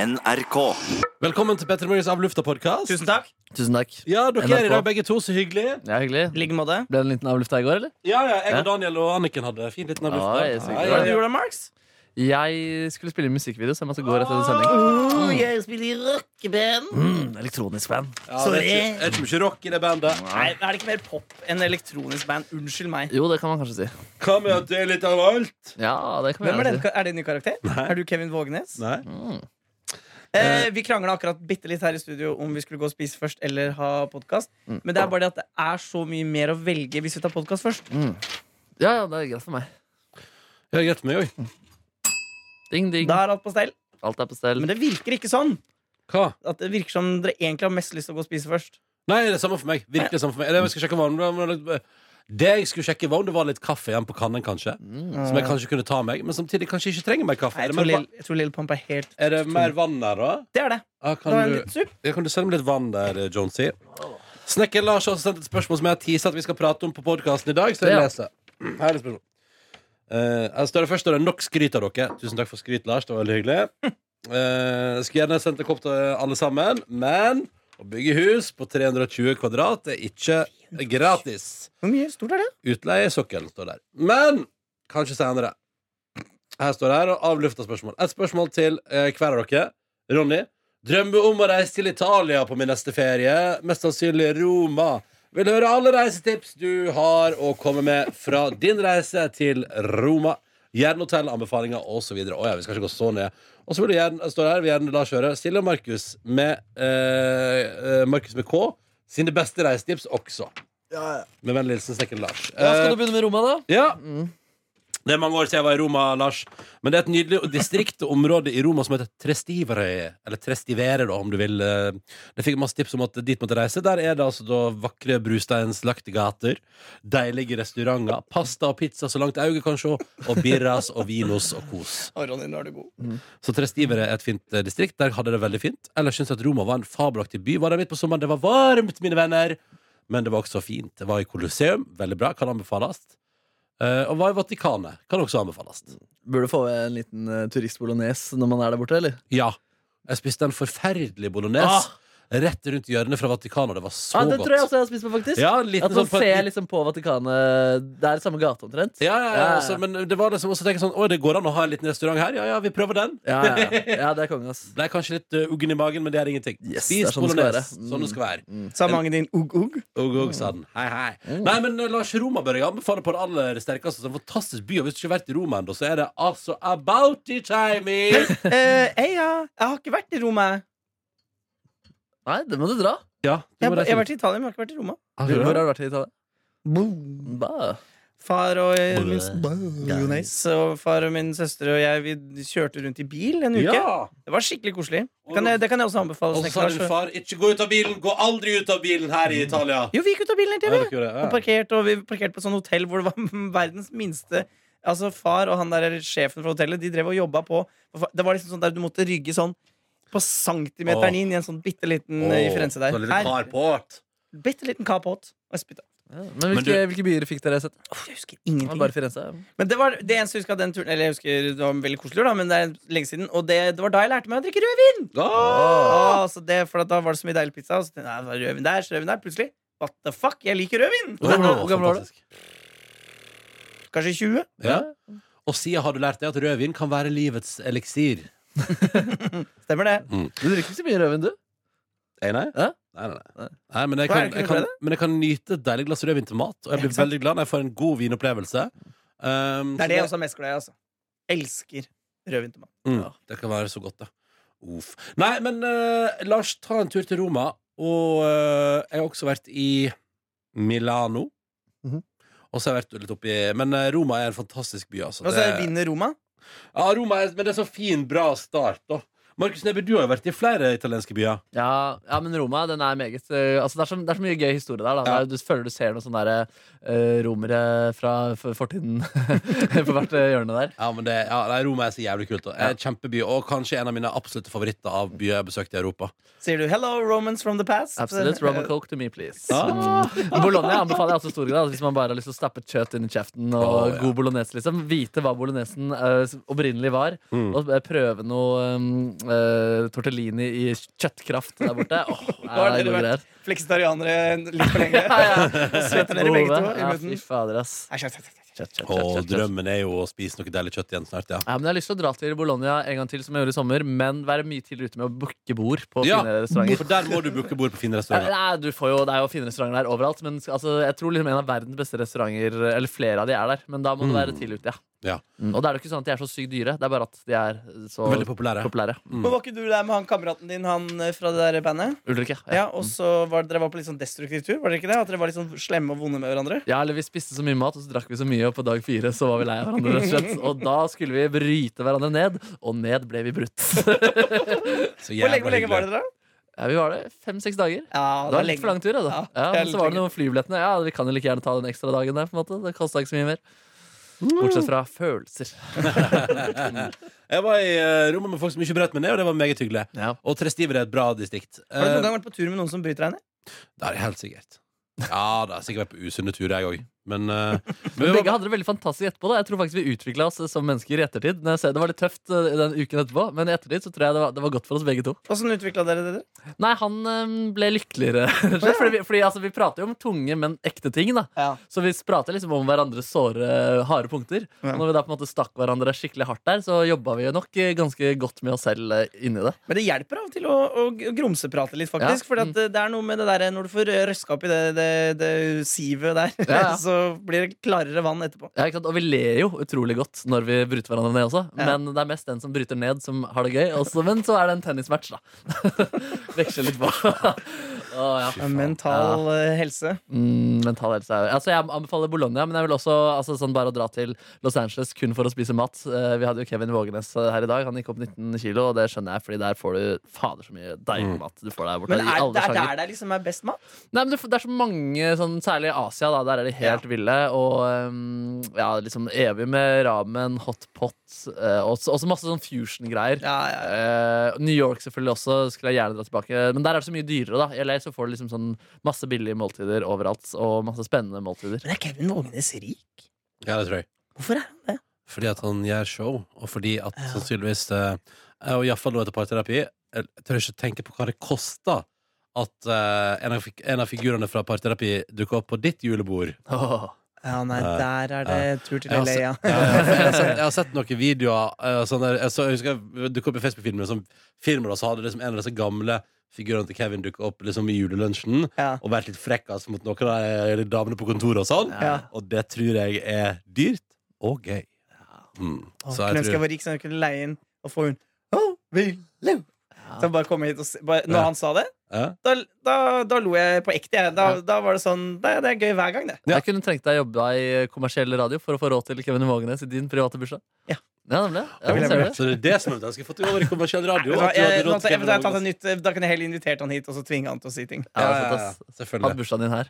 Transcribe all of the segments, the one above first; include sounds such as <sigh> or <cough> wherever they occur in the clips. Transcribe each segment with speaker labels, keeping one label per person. Speaker 1: NRK.
Speaker 2: Velkommen til Petter Morgens Av lufta-podkast.
Speaker 3: Tusen takk.
Speaker 4: Tusen takk.
Speaker 2: Ja, dere er i
Speaker 4: NRK.
Speaker 2: dag begge to, så hyggelig.
Speaker 4: Ja, hyggelig.
Speaker 3: I like måte.
Speaker 4: Ble det en liten avlufta i går, eller?
Speaker 2: Ja, ja, Jeg
Speaker 4: Ja.
Speaker 2: og Daniel og Anniken hadde fin liten av lufta.
Speaker 4: Ja, jeg er så
Speaker 2: Ja,
Speaker 3: Hva
Speaker 4: glad.
Speaker 2: ja,
Speaker 3: var det du
Speaker 2: ja.
Speaker 3: gjorde, Marks?
Speaker 4: Jeg skulle spille inn musikkvideo, så jeg måtte gå rett etter sending.
Speaker 5: Jeg spiller i rockeband.
Speaker 4: Mm, elektronisk band.
Speaker 2: Ja, det er ikke- er ikke mye rock i det bandet.
Speaker 3: Nei, Er det ikke mer pop enn elektronisk band? Unnskyld meg.
Speaker 4: Jo, det kan man kanskje si.
Speaker 2: Hva med at det er litt av alt?
Speaker 4: Ja, det kan man
Speaker 3: Hvem er,
Speaker 4: gjerne
Speaker 3: den,
Speaker 4: si.
Speaker 3: er det en ny karakter? Er du Kevin Vågenes?
Speaker 2: Nei.
Speaker 4: Mm.
Speaker 3: Eh, vi krangla akkurat bitte litt her i studio om vi skulle gå og spise først eller ha podkast.
Speaker 4: Mm.
Speaker 3: Men det er bare det at det er så mye mer å velge hvis vi tar podkast først.
Speaker 4: Mm. Ja, ja, det er greit for meg.
Speaker 2: Ja, greit for meg òg.
Speaker 4: Ding, ding.
Speaker 3: Da er alt på stell.
Speaker 4: Alt er på stell.
Speaker 3: Men det virker ikke sånn.
Speaker 2: Hva?
Speaker 3: At det virker som dere egentlig har mest lyst til å gå og spise først.
Speaker 2: Nei, det er samme for meg. Virkelig det samme for meg. Eller, jeg skal sjekke hva om det var litt- Det jeg skulle sjekke, var om det var litt kaffe igjen på kannen, kanskje. Som jeg kanskje kunne ta meg. Men samtidig kanskje ikke trenger mer kaffe.
Speaker 3: Nei,
Speaker 2: Er det
Speaker 3: jeg tror
Speaker 2: mer,
Speaker 3: Lil- jeg tror Lil Pump er helt
Speaker 2: va- er det mer vann der, da?
Speaker 3: Det er det.
Speaker 2: Ja,
Speaker 3: Det var
Speaker 2: kan
Speaker 3: en
Speaker 2: du,
Speaker 3: litt sup.
Speaker 2: ja, kan du sende meg litt vann der, eh, Jonesy? Snekker Lars har også sendt et spørsmål som jeg har teasa at vi skal prate om på podkasten i dag. Så jeg
Speaker 4: Ja.
Speaker 2: leser. Her er det spørsmål. Eh, her står det først, og det er nok skryt av dere. Tusen takk for skryt, Lars. Det var veldig hyggelig. Eh, skulle gjerne sendt en kopp til alle sammen, men å bygge hus på 320 kvadrat er ikke gratis.
Speaker 3: Hvor mye stort er det?
Speaker 2: Utleiesokkel står der. Men kanskje senere. Her står det her, og avlufta spørsmål. Et spørsmål til eh, hver av dere. Ronny. Drømmer om å reise til Italia på min neste ferie. Mest sannsynlig Roma. Vil høre alle reisetips du har å komme med fra din reise til Roma. Gjerne hotellanbefalinger osv. Å ja, vi skal ikke gå så ned. Og så vil du gjerne, står det her, vil gjerne la oss høre Silje og Markus med, eh, eh, Markus med K sine beste reisetips også. Med vennlig hilsen Snekker Lars.
Speaker 4: Ja, skal
Speaker 2: Eh,
Speaker 4: du begynne med Roma, da?
Speaker 2: ja. Det er mange år siden jeg var i Roma, Lars. Men det er et nydelig distrikt og område i Roma som heter Trestivere. Eller Trestivere, da, om du vil. Jeg fikk masse tips om at dit måtte jeg reise. Der er det altså da vakre brusteinslagte gater, deilige restauranter, pasta og pizza så langt øyet kan se, og birras og vinos og kos.
Speaker 3: Å, Ronny, nå er du god.
Speaker 2: Så Trestivere er et fint eh, distrikt. Der hadde det veldig fint. Ellers syns jeg at Roma var en fabelaktig by. Var der midt på sommeren. Det var varmt, mine venner. Men det var også fint. Det var i Colosseum. Veldig bra. Kan anbefales. Eh, og var i Vatikanet. Kan også anbefales.
Speaker 4: Burde få en liten uh, turistbolognese når man er der borte, eller?
Speaker 2: Ja. Jeg spiste en forferdelig bolognese rett rundt hjørnet fra Vatikanet, og det var så
Speaker 4: Ja, den
Speaker 2: godt.
Speaker 4: Ah, tror jeg også jeg har spist på, faktisk.
Speaker 2: Ja, en liten
Speaker 4: At man
Speaker 2: sånn på-
Speaker 4: ser liksom på Vatikanet Det er samme gate, omtrent.
Speaker 2: ja, ja, ja,
Speaker 4: Ja, ja.
Speaker 2: altså, men det var liksom også tenke sånn Å, det går an å ha en liten restaurant her? Ja, ja, vi prøver den.
Speaker 4: Ja, ja, ja. ja det er konge, ass.
Speaker 2: Ble kanskje litt eh, uggen i magen, men det er ingenting.
Speaker 4: Yes,
Speaker 2: Spis
Speaker 4: det er sånn det skal
Speaker 2: bolognese.
Speaker 4: være. Mm. Mm.
Speaker 2: Sånn det skal være.
Speaker 3: Sa mange
Speaker 2: <laughs>
Speaker 3: din ugg-ugg?
Speaker 2: Og og sa den. Hei, hei. Nei, men eh, Lars Roma bør jeg anbefale på det aller sterkeste. Det er en fantastisk by. Og hvis du ikke har vært i Roma ennå, så er det altså about the time!
Speaker 3: Eh, hei, ja. Jeg har ikke vært i Roma. jeg.
Speaker 4: Nei, det må du dra.
Speaker 2: Ja,
Speaker 3: Jeg, har- jeg har vært i Italia, men jeg har ikke vært i Roma.
Speaker 4: Hvor har du vært i Italia? Ba.
Speaker 3: Far og eh, min s- Jonas og far og min søster og jeg vi kjørte rundt i bil en uke.
Speaker 2: Ja.
Speaker 3: Det var skikkelig koselig. Det kan jeg, det kan jeg også anbefale.
Speaker 2: Og så
Speaker 3: Snekker
Speaker 2: sa din
Speaker 3: Lars.
Speaker 2: far 'ikke gå ut av bilen'. Gå aldri ut av bilen her i Italia.
Speaker 3: Jo, vi gikk ut av bilen hele
Speaker 2: Ja,
Speaker 3: tiden,
Speaker 2: dere gjorde det,
Speaker 3: vi. Og
Speaker 2: ja.
Speaker 3: parkert, og vi parkerte på et sånt hotell hvor det var <laughs> verdens minste Altså Far og han der sjefen fra hotellet De drev og jobba på Det var liksom sånn der du måtte rygge sånn på centimeteren
Speaker 2: Åh.
Speaker 3: inn i en sånn bitte liten eh, differense der.
Speaker 2: Så litt carport.
Speaker 3: Bitte liten kapott. Og jeg spytta.
Speaker 4: Ja, men
Speaker 2: Men
Speaker 4: hvilke,
Speaker 2: du-
Speaker 4: hvilke byer fikk dere sett?
Speaker 3: Jeg husker
Speaker 4: Det var
Speaker 3: ingenting.
Speaker 4: Bare Firenze?
Speaker 3: Men det var det eneste jeg husker av den turen Eller jeg husker det var en veldig koselig tur, da, men det er lenge siden. Og det, det var da jeg lærte meg å drikke rødvin!
Speaker 2: Ah!
Speaker 3: Åh, så det, for at da var det så mye deilig pizza. Og så tenkte jeg, "Nei, det var rødvin der, så rødvin der. Plutselig what the fuck, jeg liker rødvin!
Speaker 2: Hvor gammel-
Speaker 4: Åh,
Speaker 2: hvor gammel var du?
Speaker 4: fantastisk.
Speaker 3: Kanskje 20?
Speaker 2: Ja. Og siden har du lært deg at rødvin kan være livets eliksir.
Speaker 3: Stemmer det.
Speaker 4: Du drikker ikke så mye rødvin, du?
Speaker 2: Nei, nei.
Speaker 4: Hæ?
Speaker 2: Nei, nei, nei. nei men, jeg
Speaker 3: Hva er
Speaker 2: kan,
Speaker 3: det ikke
Speaker 2: jeg
Speaker 3: noe
Speaker 2: kan, men jeg kan nyte et deilig glass rødvin til mat, og jeg blir
Speaker 3: Ikke sant?
Speaker 2: veldig glad når jeg får en god vinopplevelse. Um,
Speaker 3: Det er
Speaker 2: så
Speaker 3: det jeg også er mest glad i. altså Elsker rødvin til mat.
Speaker 2: mm, det kan være så godt, da. Uff. Nei, men eh, Lars, ta en tur til Roma. Og eh, jeg har også vært i Milano.
Speaker 4: Mhm.
Speaker 2: Og så har jeg vært litt oppi Men eh, Roma er en fantastisk by, altså.
Speaker 3: Og så
Speaker 2: Det-
Speaker 3: vinner Roma.
Speaker 2: ja, Roma er, men det er så fin, bra start, da. Markus Neby, du har jo vært i flere italienske byer.
Speaker 4: Ja, ja, men Roma den er meget eh, altså det, er så, det er så mye gøy historie der.
Speaker 2: Ja.
Speaker 4: Da. Det er- Du føler du ser noen sånne der, eh, romere fra f- fortiden <laughs> på hvert eh, hjørne der.
Speaker 2: Ja, men det, ja, nei, Roma er så jævlig kult. da. Er et Kjempeby, og kanskje en av mine absolutte favoritter av byer jeg besøkte i Europa.
Speaker 3: Sier du 'hello, Romans from the past'? Eh, <laughs>
Speaker 4: Absolutt. Rum and coke to me, please.
Speaker 2: Ah.
Speaker 4: Mm. Bologna anbefaler jeg også i stor grad. Hvis man bare har lyst til å stappe et kjøtt inn i kjeften og
Speaker 2: Å, ja.
Speaker 4: god bolognese, liksom. Vite hva bolognesen eh, opprinnelig var,
Speaker 2: Mm.
Speaker 4: og eh, prøve noe um, eh, tortellini i kjøttkraft der borte. Åh,
Speaker 3: Nå har
Speaker 4: nei,
Speaker 3: dere
Speaker 4: det er
Speaker 3: vært
Speaker 4: gode greier.
Speaker 3: Fleksitarianere litt for
Speaker 4: <laughs>
Speaker 3: lenge.
Speaker 4: Ja, ja.
Speaker 3: Og svetter dere begge to
Speaker 4: Behovet.
Speaker 3: i
Speaker 4: Ja,
Speaker 3: munnen.
Speaker 4: fy fader, ass.
Speaker 3: Nei, kjøtt, kjøtt, kjøtt, kjøtt.
Speaker 4: Kjøtt, kjøtt,
Speaker 2: Og
Speaker 4: kjøtt, kjøtt, kjøtt.
Speaker 2: drømmen er jo å spise noe deilig kjøtt igjen snart, ja.
Speaker 4: Ja, men jeg har lyst til å dra til Bologna en gang til, som jeg gjorde i sommer, men være mye tidligere ute med å booke bord på
Speaker 2: Ja,
Speaker 4: fine restauranter.
Speaker 2: For der må du booke bord på fine
Speaker 4: Ja,
Speaker 2: restauranter.
Speaker 4: Nei, du får jo, det er jo fine restauranter der overalt, men altså, jeg tror liksom en av verdens beste restauranter Eller flere av de er der, men da må du være
Speaker 2: Mm.
Speaker 4: tidlig ute. Ja.
Speaker 2: Ja.
Speaker 4: Mm, og da er det jo ikke sånn at de er så sykt dyre, det er bare at de er så
Speaker 2: Veldig populære.
Speaker 4: populære.
Speaker 3: Men var ikke du der med han kameraten din han eh, fra det der bandet?
Speaker 4: Ulrik, ja.
Speaker 3: Ja, og så var dere var på litt sånn destruktiv tur? Var dere ikke det? At dere var litt sånn slemme og vonde med hverandre?
Speaker 4: Ja, eller Vi spiste så mye mat, og så drakk vi så mye, og på dag fire så var vi lei av hverandre. rett Og
Speaker 2: <laughs>
Speaker 4: slett Og da skulle vi bryte hverandre ned, og ned ble vi brutt. <laughs>
Speaker 2: Så
Speaker 3: Hvor lenge, hvor lenge var
Speaker 2: hyggelig.
Speaker 3: dere da?
Speaker 4: Ja, vi var det fem-seks dager.
Speaker 3: Ja,
Speaker 4: Det var en litt for lang tur. da.
Speaker 3: Ja,
Speaker 4: Ja,
Speaker 3: det er
Speaker 4: men
Speaker 3: litt
Speaker 4: så var det
Speaker 3: lenge.
Speaker 4: noen flybillettene. Ja, Vi kan jo like gjerne ta den ekstra dagen der. på en måte Det kosta ikke så mye mer. Bortsett fra følelser.
Speaker 2: Jeg var i eh, rommet med folk som ikke brøt meg ned, og det var meget hyggelig.
Speaker 4: Ja.
Speaker 2: Og Trestiver er et bra distrikt.
Speaker 3: Har du
Speaker 2: Eh,
Speaker 3: noen gang vært på tur med noen som bryter deg ned?
Speaker 2: det er helt sikkert. Ja, det har sikkert vært på usunne turer, jeg òg. Men,
Speaker 3: <laughs>
Speaker 2: eh, men
Speaker 4: Begge hadde det veldig fantastisk etterpå. da Jeg tror faktisk vi utvikla oss som mennesker i ettertid. Når jeg ser, det var litt tøft eh, den uken etterpå, men i ettertid så tror jeg det var, det var godt for oss begge to.
Speaker 3: Åssen utvikla dere dere?
Speaker 4: Nei, han eh, ble lykkeligere. <laughs> rett og slett, fordi vi, fordi altså, vi prater jo om tunge, men ekte ting. da
Speaker 3: Ja.
Speaker 4: Så vi prater liksom om hverandres såre, eh, harde punkter.
Speaker 3: Ja.
Speaker 4: Og når vi da på en måte stakk hverandre skikkelig hardt der, så jobba vi nok eh, ganske godt med oss selv eh, inni det.
Speaker 3: Men det hjelper av og til å, å g- grumseprate litt, faktisk.
Speaker 4: Ja, Mm.
Speaker 3: Fordi at eh, det- det er noe med det der når du får røska opp i det, det, det sivet der,
Speaker 4: Ja, ja.
Speaker 3: <laughs> så blir det klarere vann etterpå.
Speaker 4: Ja, ikke sant? Og vi ler jo utrolig godt når vi bryter hverandre ned også.
Speaker 3: Ja.
Speaker 4: Men det er mest den som bryter ned, som har det gøy. Også, men så er det en tennismatch, da. <laughs> Veksler litt på. <laughs> Å, ja.
Speaker 3: Mental eh, helse.
Speaker 4: mm, mental helse er jo Altså, Jeg anbefaler Bologna, men jeg vil også altså, sånn bare å dra til Los Angeles kun for å spise mat. Eh, Vi hadde jo Kevin Vågenes eh, her i dag. Han gikk opp 19 kilo, og det skjønner jeg, fordi der får du fader så mye deilig
Speaker 2: Mm.
Speaker 4: mat. Du får der borte
Speaker 3: Men
Speaker 4: i
Speaker 3: er
Speaker 4: alle
Speaker 3: det er
Speaker 4: sjanger.
Speaker 3: der det liksom er best mat?
Speaker 4: Nei, men det, det er så mange, sånn, særlig i Asia, da, der er de helt ville. Og um, ja, liksom evig med ramen, hot pot, eh, og så- også masse sånn fusion-greier.
Speaker 3: Ja, ja, ja.
Speaker 4: Eh, New York selvfølgelig også, skulle jeg gjerne dra tilbake. Men der er det så mye dyrere, da. I LA så får du liksom sånn masse billige måltider overalt, og masse spennende måltider.
Speaker 3: Men er Kevin Vågenes rik?
Speaker 2: Ja, det tror jeg.
Speaker 3: Hvorfor er han det?
Speaker 2: Fordi at han gjør show, og fordi at
Speaker 3: Ja.
Speaker 2: sannsynligvis eh, Og iallfall nå etter parterapi Jeg tør ikke tenke på hva det kosta at eh, en, av, fig- en av figurene fra parterapi dukka opp på ditt julebord.
Speaker 4: Åh.
Speaker 3: <laughs> Ja, nei,
Speaker 2: Ja.
Speaker 3: der er det tur til
Speaker 2: Ja,
Speaker 4: altså,
Speaker 3: LA, ja.
Speaker 2: Ja, ja, for jeg, har sett, jeg har sett noen videoer eh, sånn der, jeg, så, jeg husker jeg dukket opp i Facebook-filmer som filmer, og så hadde liksom en av disse gamle figurene til Kevin dukket opp liksom i julelunsjen
Speaker 3: ja.
Speaker 2: og vært litt frekkas mot noen av de damene på kontoret og sånn.
Speaker 3: ja.
Speaker 2: Og det tror jeg er dyrt og gøy. Mm.
Speaker 3: Å,
Speaker 2: Så
Speaker 3: kunne
Speaker 2: jeg
Speaker 3: ønske jeg
Speaker 2: tror
Speaker 3: var rik, så jeg kunne leie inn og få hun oh, ja. Så bare komme hit og se bare, Når
Speaker 2: Ja.
Speaker 3: han sa det,
Speaker 2: ja.
Speaker 3: da, da, da lo jeg på ekte. Jeg. Da,
Speaker 4: Ja.
Speaker 3: da var det sånn Det, det er gøy hver gang, det.
Speaker 2: Ja.
Speaker 4: Jeg kunne trengt deg jobba i eh, kommersiell radio for å få råd til Kevin Vågenes i din private bursdag.
Speaker 3: Ja.
Speaker 4: ja nemlig. Ja,
Speaker 3: vil jeg
Speaker 4: ser du.
Speaker 2: Så det er det som er ønsket. Fått det over i kommersiell radio.
Speaker 3: Vet du hva,
Speaker 2: at du hadde
Speaker 3: jeg-
Speaker 2: råd
Speaker 3: nå
Speaker 2: til
Speaker 3: tar- jeg-
Speaker 2: Kevin
Speaker 3: Da har jeg tatt
Speaker 2: Vågenes.
Speaker 3: en nytt, eh, da kunne jeg heller invitert han hit og så tvinge han til å si ting.
Speaker 4: Ja,
Speaker 2: Ja,
Speaker 4: det er
Speaker 2: ja, ja,
Speaker 4: sant, ass. Hadde
Speaker 2: selvfølgelig.
Speaker 4: bursdagen din her.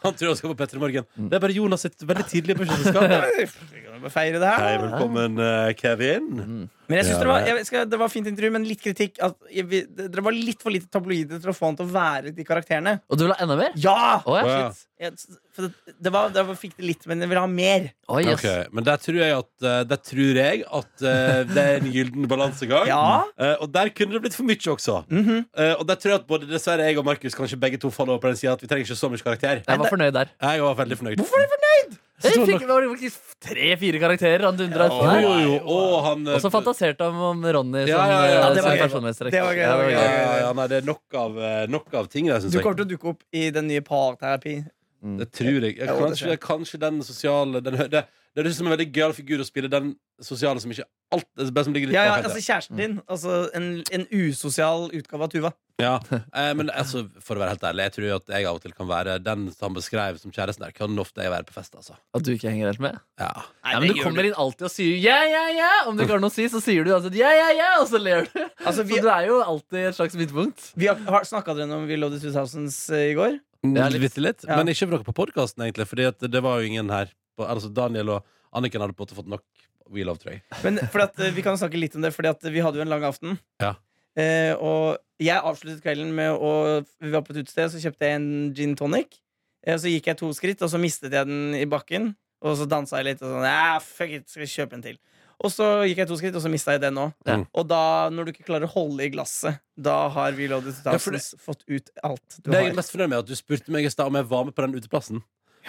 Speaker 2: Han tror han skal på Petter i morgen.
Speaker 4: Mm.
Speaker 2: Det er bare Jonas sitt veldig tidlige bursdagsselskap.
Speaker 3: <laughs> Vi kan jo bare Feire det her.
Speaker 2: Hei,
Speaker 3: da.
Speaker 2: velkommen, eh, Kevin.
Speaker 4: Mm.
Speaker 3: Men jeg synes
Speaker 2: Ja,
Speaker 3: det, var,
Speaker 2: det-
Speaker 3: jeg skal, det var fint intervju, men litt kritikk. At jeg, vi, dere var litt for lite tabloide til å få han til å være de karakterene.
Speaker 4: Og du vil ha enda mer?
Speaker 3: Ja!
Speaker 4: Å,
Speaker 2: Å, ja.
Speaker 4: ja, shit.
Speaker 3: Jeg, for det, det var, dere fikk det litt, men jeg ville ha mer.
Speaker 4: Oi, yes.
Speaker 2: Ok, Men der tror jeg at, eh, der tror jeg at eh, det er en gyllen balansegang.
Speaker 3: <laughs> Ja.
Speaker 2: Eh, og der kunne det blitt for mye også.
Speaker 3: Mhm.
Speaker 2: Eh, og der tror jeg at både dessverre jeg og Markus kanskje begge to faller over på den sida at vi trenger ikke så mye karakter.
Speaker 4: Jeg var fornøyd der.
Speaker 2: Jeg var veldig fornøyd.
Speaker 3: Hvorfor er du fornøyd?
Speaker 4: Jeg fikk det var faktisk tre-fire karakterer han dundra
Speaker 2: Jo,
Speaker 4: utfor
Speaker 2: jo,
Speaker 4: der.
Speaker 2: jo. Og han eh,
Speaker 4: Og så fantaserte han om Ronny som,
Speaker 2: Ja, ja, ja.
Speaker 4: eh,
Speaker 2: Ja,
Speaker 3: det var
Speaker 4: som
Speaker 3: gøy.
Speaker 4: personlighetstrekk.
Speaker 3: Det var gøy, det
Speaker 4: Ja,
Speaker 3: var
Speaker 2: ja,
Speaker 3: gøy.
Speaker 2: ja, ja, nei, det er nok av, eh, nok av ting der, syns
Speaker 3: Du
Speaker 2: jeg.
Speaker 3: kommer til å dukke opp i den nye parterapi.
Speaker 2: Det tror jeg.
Speaker 3: Ja, det
Speaker 2: Kanskje,
Speaker 3: tror jeg.
Speaker 2: kanskje den sosiale den, hø- det, det er liksom en veldig gøyal figur å spille den sosiale som ikke alt det er bare som ligger litt Mm.
Speaker 3: Ja, ja,
Speaker 2: bak
Speaker 3: altså
Speaker 2: etter.
Speaker 3: Kjæresten din. Altså en, en usosial utgave av Tuva.
Speaker 2: ja. Eh, Men altså, for å være helt ærlig, jeg tror at jeg av og til kan være den som han beskrev som kjæresten der, kan ofte jeg være på fest, altså.
Speaker 4: At du ikke henger helt med?
Speaker 2: Ja.
Speaker 4: ja, men Du kommer inn alltid og sier ja, ja, ja! Om du ikke har noe å si, så sier du uansett ja, ja, ja, og så ler du.
Speaker 3: Altså, vi-
Speaker 4: Så du er jo alltid et slags midtpunkt.
Speaker 3: Vi har, har Snakka dere om We Love the 2000s i går?
Speaker 4: Ja,
Speaker 2: litt,
Speaker 4: litt.
Speaker 2: litt, Mm, litt.
Speaker 3: Ja.
Speaker 2: Men ikke for noe på podkasten, egentlig, Fordi at det var jo ingen her. På, altså, Daniel og Anniken hadde på en måte fått nok We Love, tror jeg.
Speaker 3: Men for at, eh, Vi kan snakke litt om det, Fordi at vi hadde jo en lang aften.
Speaker 2: Ja.
Speaker 3: Eh, og jeg avsluttet kvelden med å Vi var på et utested, så kjøpte jeg en gin tonic. Eh, og så gikk jeg to skritt, og så mistet jeg den i bakken. Og så dansa jeg litt og sånn. Ja, fuck it, «Ah, skal jeg kjøpe en til Og så gikk jeg to skritt, og så mista jeg den òg.
Speaker 4: Ja.
Speaker 3: Og da, når du ikke klarer å holde i glasset, da har Reloaded
Speaker 2: Ja, for det-
Speaker 3: Thousands fått ut alt du
Speaker 2: Det jeg
Speaker 3: har.
Speaker 2: er mest fornøyd med, er at du spurte meg i stad om jeg var med på den uteplassen.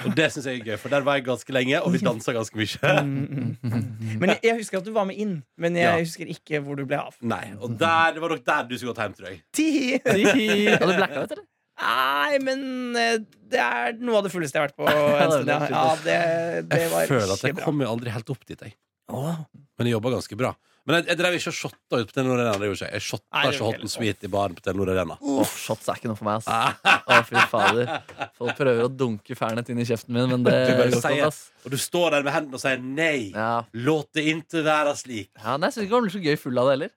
Speaker 2: Og det syns jeg er gøy, for der var jeg ganske lenge,
Speaker 3: <laughs>
Speaker 2: og vi dansa ganske mye.
Speaker 3: Mm, mm, mm. Men jeg, jeg husker at du var med inn, men jeg
Speaker 2: Ja.
Speaker 3: husker ikke hvor du ble
Speaker 2: <laughs>
Speaker 3: av.
Speaker 2: Nei, og der, Det var nok der du skulle gått hjem, tror jeg.
Speaker 3: Ti!
Speaker 4: Hadde du blacka ut, eller?
Speaker 3: Nei, men eh, det er noe av det fulleste jeg har
Speaker 2: <laughs>
Speaker 3: vært på en stund. Ja, ja det, det
Speaker 2: Jeg
Speaker 3: var
Speaker 2: føler at jeg
Speaker 3: bra.
Speaker 2: kommer jo aldri helt opp dit, jeg.
Speaker 3: Åh.
Speaker 2: Men jeg jobba ganske bra. Men jeg, jeg drev ikke og shotta ut på Telenor Arena. Det gjorde ikke jeg. Jeg shotta
Speaker 3: Nei, det
Speaker 2: ikke
Speaker 3: gjorde
Speaker 2: hot
Speaker 3: ikke
Speaker 2: and
Speaker 3: jeg.
Speaker 2: sweet i baren på Telenor Arena.
Speaker 4: Åh, shots er ikke noe for meg, ass. Å, fy fader. Folk prøver å dunke fernet inn i kjeften min, men det
Speaker 2: Du bare
Speaker 4: går ikke
Speaker 2: sier-
Speaker 4: an, ass.
Speaker 2: Og du står der med hendene og sier nei.
Speaker 4: Ja.
Speaker 2: Låt det inte være slik.
Speaker 4: Ja, nei, jeg syns ikke han blir så gøy full av det heller.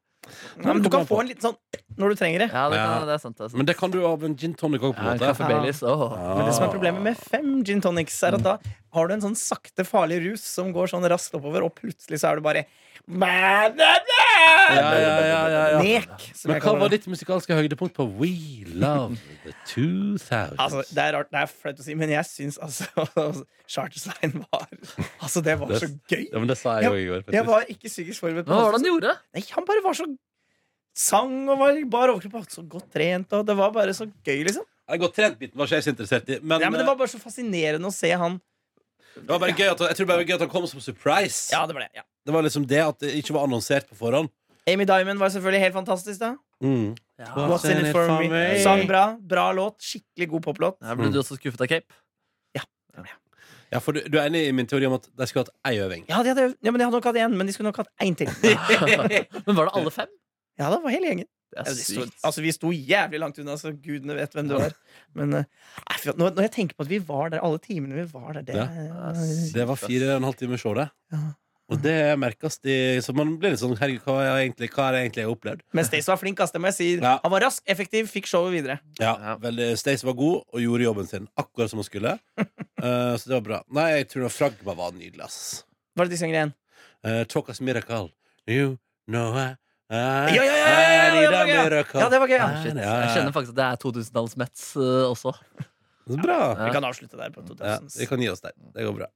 Speaker 3: Nei, men du kan få en liten sånn når du trenger det.
Speaker 4: Ja, det,
Speaker 2: Ja.
Speaker 4: kan, det er sant, det er sant.
Speaker 2: Men det kan du av en gin tonic òg, på
Speaker 4: Ja,
Speaker 2: en
Speaker 4: kaffe
Speaker 2: måte.
Speaker 4: Baileys. åh.
Speaker 3: Men
Speaker 2: Ah.
Speaker 3: det som er problemet med fem gin tonics, er at da har du en sånn sakte, farlig rus som går sånn raskt oppover, og plutselig så er du bare
Speaker 2: Ja, ja, ja, ja, ja.
Speaker 3: Nek! Som
Speaker 2: Men
Speaker 3: jeg
Speaker 2: hva
Speaker 3: kaller
Speaker 2: var
Speaker 3: det.
Speaker 2: ditt musikalske høydepunkt på We Love the 2000?
Speaker 3: Altså, det er rart, det er flaut å si, men jeg syns altså <laughs> Charterstein var Altså, det var så gøy.
Speaker 2: ja, men det sa jeg jo i går.
Speaker 3: Jeg
Speaker 2: faktisk.
Speaker 3: var ikke psykisk forberedt. på
Speaker 4: Hva var
Speaker 3: det.
Speaker 4: det han gjorde?
Speaker 3: Nei, han bare var så sang og var bar overkropp og så godt trent, og det var bare så gøy, liksom.
Speaker 2: Jeg godt trent biten var ikke jeg så interessert i. Men,
Speaker 3: Ja, men det
Speaker 2: eh,
Speaker 3: var bare så fascinerende å se han.
Speaker 2: det var bare gøy at, jeg tror bare det var gøy at han kom som surprise.
Speaker 3: Ja, det var det. Ja.
Speaker 2: Det var liksom det at det ikke var annonsert på forhånd.
Speaker 3: Amy Diamond var selvfølgelig helt fantastisk, da.
Speaker 2: Mm.
Speaker 4: Ja.
Speaker 3: What's in it for me? Sang bra. Bra låt. Skikkelig god poplåt.
Speaker 4: Her ble du også skuffet av Cape.
Speaker 2: Ja, for du, du er enig i min teori om at de skulle hatt ei øving?
Speaker 3: Ja, de hadde, ja, men de hadde nok hatt én, men de skulle nok hatt én
Speaker 4: <laughs>
Speaker 3: til.
Speaker 4: Men var det alle fem?
Speaker 3: Ja, det var hele gjengen.
Speaker 4: Det
Speaker 3: Ja,
Speaker 4: er
Speaker 3: de sto,
Speaker 4: sykt.
Speaker 3: altså, vi sto jævlig langt unna, så gudene vet hvem du var. Men eh, nei, fy faen, når, når jeg tenker på at vi var der alle timene vi var der, det
Speaker 2: Ja. Det var fire og en halv time show, det.
Speaker 3: Ja.
Speaker 2: Og det merkes de Så man blir litt sånn Herregud, hva er jeg egentlig, hva er det egentlig jeg har opplevd?
Speaker 3: Men Stace var flink, ass. Det må jeg si.
Speaker 2: Ja.
Speaker 3: Han var rask, effektiv, fikk showet videre.
Speaker 2: Ja,
Speaker 4: Ja.
Speaker 2: veldig Stace var god og gjorde jobben sin akkurat som hun
Speaker 3: <laughs>
Speaker 2: skulle. Eh, så det var bra. Nei, jeg tror det var Fragma var nydelig, ass.
Speaker 3: Var det de sangene igjen?
Speaker 2: Uh, Talk us miracle. You know I, I
Speaker 3: Ja, ja, ja, ja, ja,
Speaker 2: I need
Speaker 3: ja, det
Speaker 2: a
Speaker 3: var gøy, ja.
Speaker 2: miracle.
Speaker 3: Ja, det var gøy. Ja.
Speaker 4: Ah, shit.
Speaker 2: Ja, ja, ja.
Speaker 4: Jeg kjenner faktisk at det er 2000-tallsmets uh, også.
Speaker 2: Så bra.
Speaker 4: Ja.
Speaker 3: Vi kan avslutte der på
Speaker 2: Ja,
Speaker 3: 2000s.
Speaker 2: vi kan gi oss der. Det går bra.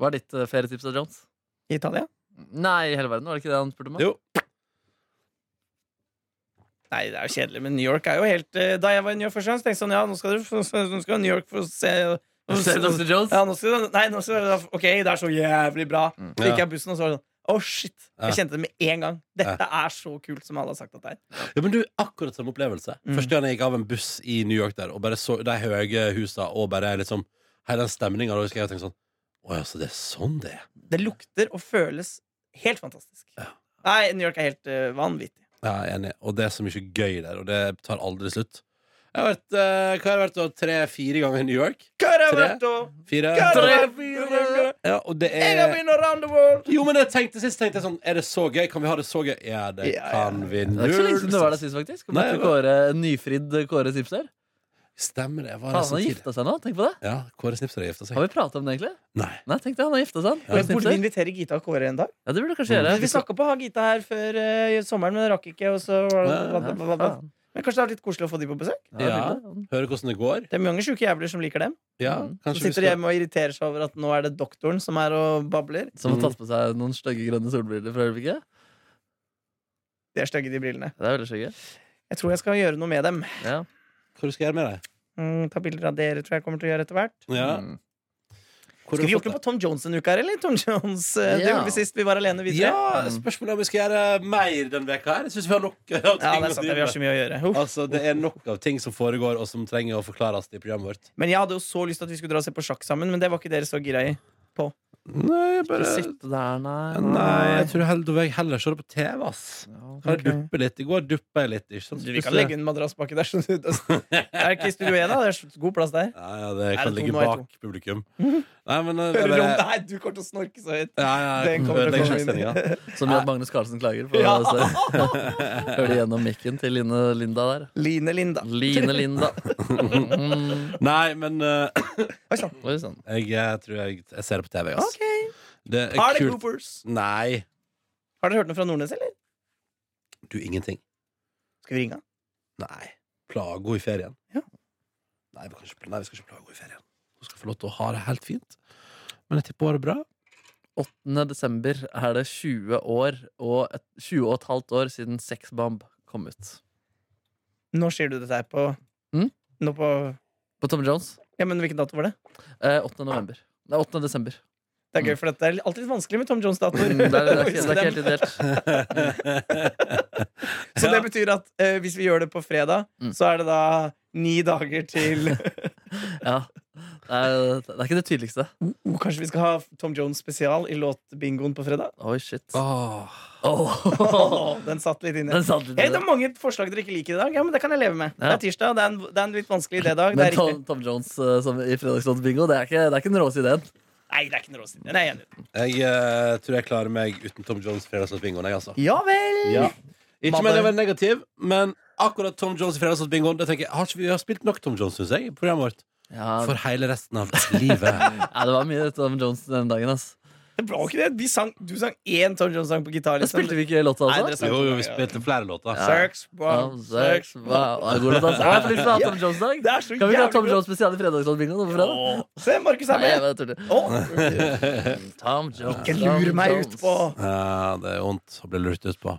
Speaker 4: Hva er ditt uh, ferietips da, Jones?
Speaker 3: I Italia?
Speaker 4: Nei, i hele verden, var det ikke det han spurte om?
Speaker 2: Jo.
Speaker 3: Nei, det er jo kjedelig, men New York er jo helt eh, Da jeg var i New York første gang, så tenkte jeg sånn Ja, nå skal dere få- så- nå skal New York få se
Speaker 4: Se, Dr. <laughs> Jones?
Speaker 3: Ja, nå skal dere- Nei, nå skal dere Ok, det er så jævlig bra.
Speaker 4: Mm.
Speaker 3: Så gikk jeg i bussen, og så var det sånn Å, shit. Jeg
Speaker 2: Ja.
Speaker 3: kjente det med en gang. Dette er så kult som alle har sagt at det er.
Speaker 2: Ja, men du, akkurat samme opplevelse.
Speaker 3: Mm.
Speaker 2: Første gang jeg gikk av en buss i New York der, og bare så de høye husa og bare liksom hele den stemninga, da husker jeg og tenkte sånn Å ja, så det er sånn det er.
Speaker 3: Det lukter og føles helt fantastisk.
Speaker 2: Ja.
Speaker 3: Nei, New York er helt eh, vanvittig.
Speaker 2: Ja, jeg er enig. Og det er så mye gøy der, og det tar aldri slutt. Jeg har vært, eh, hva har jeg vært da? tre-fire ganger i New York.
Speaker 3: Caravato,
Speaker 2: Fire.
Speaker 3: Caravato,
Speaker 2: Ja, og det
Speaker 3: jeg har
Speaker 2: er
Speaker 3: vunnet around the world!
Speaker 2: Jo, men jeg tenkte sist tenkte jeg sånn Er det så gøy? Kan vi ha det så gøy? Ja, det
Speaker 3: Ja, ja.
Speaker 2: kan vi.
Speaker 4: Det er ikke så lenge siden det var
Speaker 2: null.
Speaker 4: der sist, faktisk.
Speaker 2: Nei,
Speaker 4: Møtte
Speaker 2: det var-
Speaker 4: Kåre, nyfridd Kåre Sipser.
Speaker 2: Stemmer det. Var
Speaker 4: Faen,
Speaker 2: det
Speaker 4: han
Speaker 2: så
Speaker 4: har
Speaker 2: tidlig?
Speaker 4: gifta seg nå. Tenk på det.
Speaker 2: Ja, Kåre Snipser har gifta seg.
Speaker 4: Har vi pratet om det, egentlig?
Speaker 2: Nei.
Speaker 4: Nei, tenk deg, han har gifta seg. han. Kåre
Speaker 3: Jeg burde
Speaker 4: Sipser.
Speaker 3: invitere Gita og Kåre en dag.
Speaker 4: Ja, det burde du kanskje gjøre.
Speaker 3: Vi snakka på å ha Gita her før eh, sommeren, men det rakk ikke. Og så
Speaker 2: Ja,
Speaker 4: Ja, faen.
Speaker 3: Men kanskje det er litt koselig å få de på besøk?
Speaker 4: Ja, det
Speaker 2: Ja.
Speaker 4: burde han.
Speaker 2: Høre hvordan det går?
Speaker 3: Det er mange sjuke jævler som liker dem.
Speaker 2: Ja,
Speaker 4: Mm.
Speaker 3: Så
Speaker 2: kanskje vi
Speaker 3: sitter
Speaker 2: skal
Speaker 3: de hjemme og irriterer seg over at nå er det doktoren som er og babler.
Speaker 4: Som
Speaker 2: Mm.
Speaker 4: har tatt på seg noen stygge grønne solbriller fra øyeblikket.
Speaker 3: De er stygge, de brillene.
Speaker 4: Det er veldig stygge.
Speaker 3: Jeg tror jeg skal gjøre noe med dem.
Speaker 4: Ja.
Speaker 2: Hva du skal gjøre med deg?
Speaker 3: Mm, ta bilder av dere, tror jeg kommer til å gjøre etter hvert.
Speaker 2: Ja.
Speaker 4: Mm.
Speaker 2: Hvor
Speaker 3: Skulle
Speaker 2: har
Speaker 3: vi
Speaker 2: du
Speaker 3: gjort
Speaker 2: fått
Speaker 3: det på Tom Jones en uke her, eller? Tom Jones, eh, det
Speaker 4: Ja.
Speaker 3: gjorde vi sist vi var alene, vi
Speaker 2: det?
Speaker 3: tre.
Speaker 2: Ja, spørsmålet er om vi skal gjøre mer denne veka her. Jeg synes vi har nok av ting
Speaker 3: Ja, det er
Speaker 2: å
Speaker 3: sant.
Speaker 2: drive
Speaker 3: Vi har
Speaker 2: med.
Speaker 3: så mye å gjøre. Uff.
Speaker 2: Altså, Det er nok av ting som foregår, og som trenger å forklares i programmet vårt.
Speaker 3: Men jeg hadde jo så lyst til at vi skulle dra og se på sjakk sammen, men det var ikke dere så gira i.
Speaker 2: Nei, jeg
Speaker 4: Ikke sitte der, nei.
Speaker 2: Nei, jeg tror heller, jeg heller ser det på TV, ass.
Speaker 4: Ja.
Speaker 2: Kan jeg
Speaker 3: Ok.
Speaker 2: duppe litt? I går duppa jeg litt. Ikke sant?
Speaker 3: Du, vi kan legge en madrass baki der. Så du, er
Speaker 4: <laughs>
Speaker 3: det ikke i Studio 1, da? Det er god plass der.
Speaker 2: Ja, ja, det
Speaker 3: Er
Speaker 2: kan
Speaker 3: det to
Speaker 2: ligge
Speaker 3: nå, er det
Speaker 2: bak
Speaker 3: <laughs>
Speaker 2: publikum. Nei, men eh, det er
Speaker 3: Hører du om
Speaker 2: bare-
Speaker 3: det her? Du kommer til å snorke så høyt.
Speaker 2: ja, ja, jeg kommer til
Speaker 3: Den kommer
Speaker 2: å ødelegge
Speaker 3: til å komme
Speaker 2: sendinga.
Speaker 3: inn.
Speaker 4: Som gjør at Magnus Carlsen klager. For
Speaker 3: Ja.
Speaker 4: å se.
Speaker 2: <laughs>
Speaker 4: Hører du gjennom mikken til Line Linda der?
Speaker 3: Line Linda.
Speaker 4: Line Linda. Mm.
Speaker 2: Nei, men eh,
Speaker 3: Oi sann.
Speaker 4: Oi sånn. sann.
Speaker 2: jeg, eh, tror jeg, jeg ser det på TV, ass.
Speaker 3: Ok.
Speaker 2: Det
Speaker 3: Har
Speaker 2: er
Speaker 3: dere
Speaker 2: kult.
Speaker 3: Goopers?
Speaker 2: Nei,
Speaker 3: Har dere hørt noe fra Nordnes, eller?
Speaker 2: du, ingenting.
Speaker 3: Skal vi ringe han?
Speaker 2: Nei. Plage henne i ferien.
Speaker 3: Ja.
Speaker 2: Nei, <laughs> vi, kan ikke, nei, vi skal ikke plage henne i ferien. Hun skal få lov til å ha det helt fint. Men jeg tipper hun har det bra.
Speaker 4: 8. desember er det 20 år og et, 20 og et halvt år siden Sexbomb kom ut.
Speaker 3: Nå sier du dette her på
Speaker 4: Mm?
Speaker 3: Nå på
Speaker 4: På Tom Jones.
Speaker 3: Ja, men hvilken dato var det?
Speaker 4: Eh, 8. november. Nei, 8. desember.
Speaker 3: Det er gøy, for dette er alltid litt vanskelig med Tom Jones-datoer.
Speaker 4: Mm, det,
Speaker 3: <laughs>
Speaker 4: er, det, er, ikke-
Speaker 3: Så
Speaker 4: det er
Speaker 3: den-
Speaker 4: ikke helt ideelt.
Speaker 3: Så det betyr at eh, hvis vi gjør det på fredag,
Speaker 4: Mm.
Speaker 3: så er det da ni dager til
Speaker 4: <laughs> Ja. Det, er, det er ikke det tydeligste.
Speaker 3: oh, Kanskje vi skal ha Tom Jones spesial i låtbingoen på fredag?
Speaker 4: Oi, shit.
Speaker 2: Åh.
Speaker 4: Åh. <laughs>
Speaker 3: Åh, den satt litt inne.
Speaker 4: Den satt litt
Speaker 3: Hey,
Speaker 4: i
Speaker 3: det
Speaker 4: det.
Speaker 3: er mange forslag dere ikke liker i dag. Ja, men Det kan jeg leve med. Det
Speaker 4: Ja.
Speaker 3: er tirsdag, det er en, det er en litt vanskelig
Speaker 4: <laughs>
Speaker 3: idédag. Det
Speaker 4: Men
Speaker 3: er riktig.
Speaker 4: Tom, Tom Jones eh, som i Fredagslåtbingo, det, er ikke- det er ikke den råeste ideen.
Speaker 3: Nei, det er ikke noe råsinn. Den er jeg enig i.
Speaker 2: Jeg eh, tror jeg klarer meg uten Tom Jones fredagsnattbingoen, jeg, altså.
Speaker 3: Ja vel!
Speaker 2: Ja. Ikke
Speaker 4: Madde.
Speaker 2: med å være negativ, men akkurat Tom Jones i fredagsnattbingoen det tenker jeg, har ikke vi har spilt nok Tom Jones, synes jeg, i programmet vårt.
Speaker 4: Ja,
Speaker 2: For hele resten av livet.
Speaker 4: ja, det var mye Tom Jones den dagen. ass
Speaker 3: Det var jo ikke det. Vi sang, du sang én Tom Jones-sang på gitar.
Speaker 4: Da
Speaker 3: Liksom.
Speaker 4: spilte vi ikke låta
Speaker 3: Nei, dere
Speaker 4: altså.
Speaker 2: <laughs>
Speaker 3: sang-
Speaker 2: Jo, jo, vi spilte flere låter.
Speaker 3: Sex,
Speaker 4: Ja,
Speaker 3: wow,
Speaker 4: sex, wow. Ja, god låt, ass. Ja, jeg får lyst til å ha Tom Jones-dag.
Speaker 3: Det er så
Speaker 4: Kan vi ikke ha
Speaker 3: jævlig
Speaker 4: Tom
Speaker 3: bra.
Speaker 4: Jones spesial i Fredagslåtbingo nå på fredag?
Speaker 3: Åh, Se, Markus er
Speaker 4: Nei,
Speaker 3: med!
Speaker 4: jeg bare tuller.
Speaker 3: Åh,
Speaker 4: Tom Jones.
Speaker 3: ikke lur
Speaker 4: Tom
Speaker 3: meg
Speaker 4: Jones.
Speaker 3: ut på
Speaker 2: Ja, Eh, det er vondt å bli lurt ut på.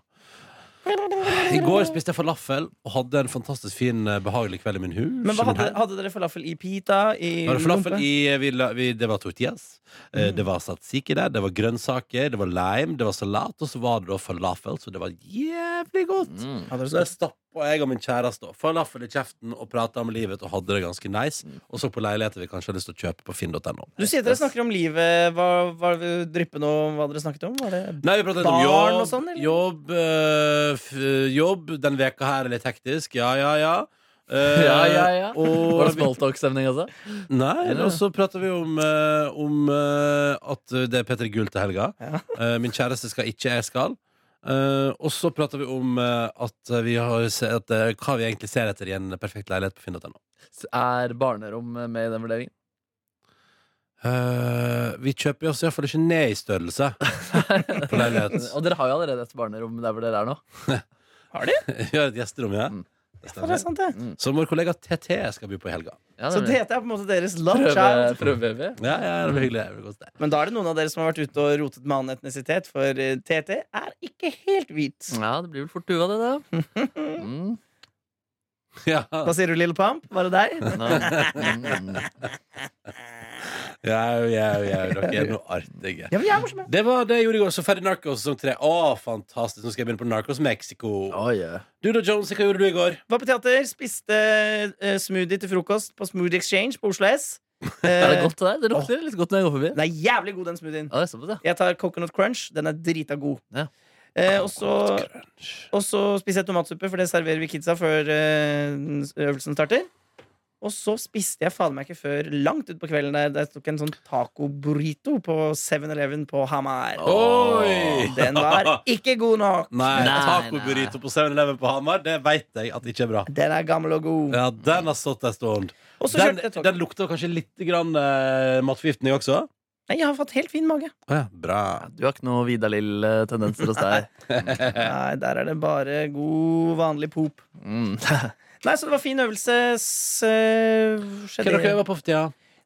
Speaker 2: I går spiste jeg falafel og hadde en fantastisk fin, eh, behagelig kveld i min hus.
Speaker 3: Men hva
Speaker 2: i min
Speaker 3: hadde,
Speaker 2: hel-
Speaker 3: hadde dere falafel i pita? I
Speaker 2: Det var falafel
Speaker 3: lompe?
Speaker 2: i eh, vi, la- vi, Det var tortillas. eh,
Speaker 3: Mm.
Speaker 2: Det var tzatziki der, det var grønnsaker, det var lime, det var salat, og så var det da falafel, så det var jævlig godt.
Speaker 4: Mm.
Speaker 3: Hadde dere
Speaker 2: Så der
Speaker 3: så-
Speaker 2: stappa jeg og min kjæreste og falafel i kjeften og prata om livet og hadde det ganske nice, og så på leiligheter vi kanskje har lyst til å kjøpe på finn.no.
Speaker 3: Mm. Du sier dere snakker om livet. Hva, hva dryppe nå, hva dere snakket om? Var det
Speaker 2: Nei, vi pratet litt om
Speaker 3: Barn
Speaker 2: jobb,
Speaker 3: og sånn, eller?
Speaker 2: jobb, eh, f- jobb. Den veka her er litt hektisk. Ja, ja, ja. Eh,
Speaker 4: <laughs> Ja, ja, ja.
Speaker 2: Og
Speaker 4: Var det smalltalk-stemning også?
Speaker 2: Nei,
Speaker 4: Eller?
Speaker 2: og så prater vi om, eh, om eh, at det er Petter Gull til helga.
Speaker 3: Ja.
Speaker 2: Eh, min kjæreste skal ikke, jeg skal. Eh, og så prater vi om eh, at vi har se- at, eh, hva vi egentlig ser etter i en perfekt leilighet på finn.no.
Speaker 4: Er barnerom med i den vurderingen?
Speaker 2: Eh, vi kjøper oss iallfall ikke ned i størrelse
Speaker 4: <laughs>
Speaker 2: på leilighet.
Speaker 4: Og dere har jo allerede et barnerom der hvor dere er nå.
Speaker 2: <laughs> Vi har et gjesterom, ja.
Speaker 4: Mm.
Speaker 2: Det
Speaker 3: Ja, det er
Speaker 2: stemmer.
Speaker 3: sant, det.
Speaker 2: Som vår kollega TT skal by på i helga.
Speaker 4: Ja,
Speaker 3: Så
Speaker 4: nemlig.
Speaker 3: dette er på en måte deres love
Speaker 4: prøve,
Speaker 3: child.
Speaker 4: prøvebaby.
Speaker 2: Ja, ja, det blir hyggelig. Det blir godt, det.
Speaker 3: Men da er det noen av dere som har vært ute og rotet med annen etnisitet, for eh, TT er ikke helt hvit.
Speaker 4: Ja, det blir vel fort duva, det, <laughs> da. Mm.
Speaker 2: Ja.
Speaker 3: Hva sier du, Lille Pamp? Var det deg?
Speaker 4: Nå. Mm.
Speaker 2: Jau, jau, jau. Dere er noe artige.
Speaker 3: Ja, men jeg er morsom, jeg.
Speaker 2: Det var det jeg gjorde i går. Så ferdig Narcos sesong tre. Å, fantastisk. Nå skal jeg begynne på Narcos Mexico.
Speaker 4: Oi, ja.
Speaker 2: Du da, Jonesy, hva gjorde du i går?
Speaker 3: Var på teater, spiste eh, smoothie til frokost på Smoothie Exchange på Oslo S.
Speaker 4: Er <laughs> det
Speaker 3: Eh,
Speaker 4: godt det der? Det lukter litt godt når jeg går forbi.
Speaker 3: den er jævlig god, den smoothien.
Speaker 4: Ja, det er såpass, ja.
Speaker 3: Jeg tar coconut crunch. Den er drita god.
Speaker 4: Ja.
Speaker 3: Eh, og så Og så spiser jeg tomatsuppe, for det serverer vi kidsa før eh, øvelsen starter. Og så spiste jeg fader meg ikke før langt utpå kvelden der. Der tok jeg en sånn taco burrito på 7-Eleven på Hamar.
Speaker 2: Oi!
Speaker 3: <laughs> Den var ikke god nok.
Speaker 2: <laughs> Nei,
Speaker 4: Nei,
Speaker 2: tacoburrito på 7-Eleven på Hamar, det veit jeg at ikke er bra.
Speaker 3: Den er gammel og god.
Speaker 2: Ja, Den har stått en stund.
Speaker 3: Og så
Speaker 2: Den,
Speaker 3: kjørte jeg tog.
Speaker 2: den lukta kanskje litt grann eh, matforgiftning også?
Speaker 3: Nei, jeg har fått helt fin
Speaker 2: <laughs>
Speaker 3: mage.
Speaker 2: Å ja, bra.
Speaker 4: Ja, Du har ikke noe Vidar-Lill-tendenser hos deg.
Speaker 3: Nei, der er det bare god, vanlig pop.
Speaker 4: Mm.
Speaker 3: Nei, så det var fin øvelse. S eh,
Speaker 2: Hva
Speaker 3: skjedde-
Speaker 2: dere øver på for tida?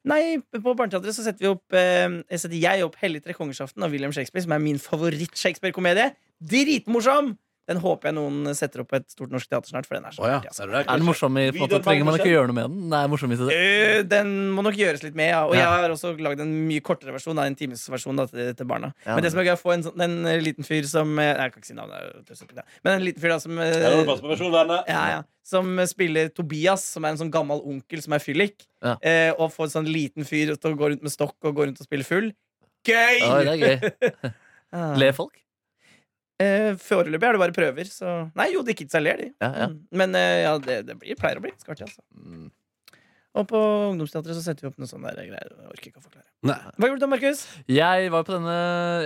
Speaker 3: Nei, på Barneteatret så setter vi opp eh, jeg setter jeg opp Hellig tre kongersaften av William Shakespeare, som er min favoritt-Shakespeare-komedie. Dritmorsom! Den håper jeg noen setter opp på et stort norsk teater snart, for den er så
Speaker 2: Å ja,
Speaker 3: artig, altså.
Speaker 2: ser du det?
Speaker 4: Er den morsom i på en måte? Trenger man ikke gjøre noe med den? Nei, morsom i seg selv.
Speaker 3: Øh, Den må nok gjøres litt med, ja. Og
Speaker 4: Ja.
Speaker 3: jeg har også lagd en mye kortere versjon, da, en times versjon da, til, til barna.
Speaker 4: Ja.
Speaker 3: Men det som er gøy, er å få en, sånn, en eh, liten fyr som eh, Jeg kan ikke si navnet, det er jo tøysete, da. men en liten fyr da som eh,
Speaker 2: Ja, nå må du passe på personvernet.
Speaker 3: ja, ja. Som eh, spiller Tobias, som er en sånn gammel onkel som er fyllik.
Speaker 4: Ja.
Speaker 3: Eh, og får en sånn liten fyr til å gå rundt med stokk og gå rundt og spille full. Gøy!
Speaker 4: Oi, det er gøy.
Speaker 3: Ah.
Speaker 4: Le folk?
Speaker 3: Eh, Foreløpig er det bare prøver, så Nei jo, de kidsa ler, de.
Speaker 4: Ja, ja.
Speaker 3: Mm. Men eh, ja, det, det blir, pleier å bli ganske artig, altså.
Speaker 4: Mm.
Speaker 3: Og på ungdomsteatret så setter vi opp noen sånne der greier. Jeg orker ikke å forklare.
Speaker 2: Nei.
Speaker 3: Hva gjorde du, Markus?
Speaker 4: Jeg var på denne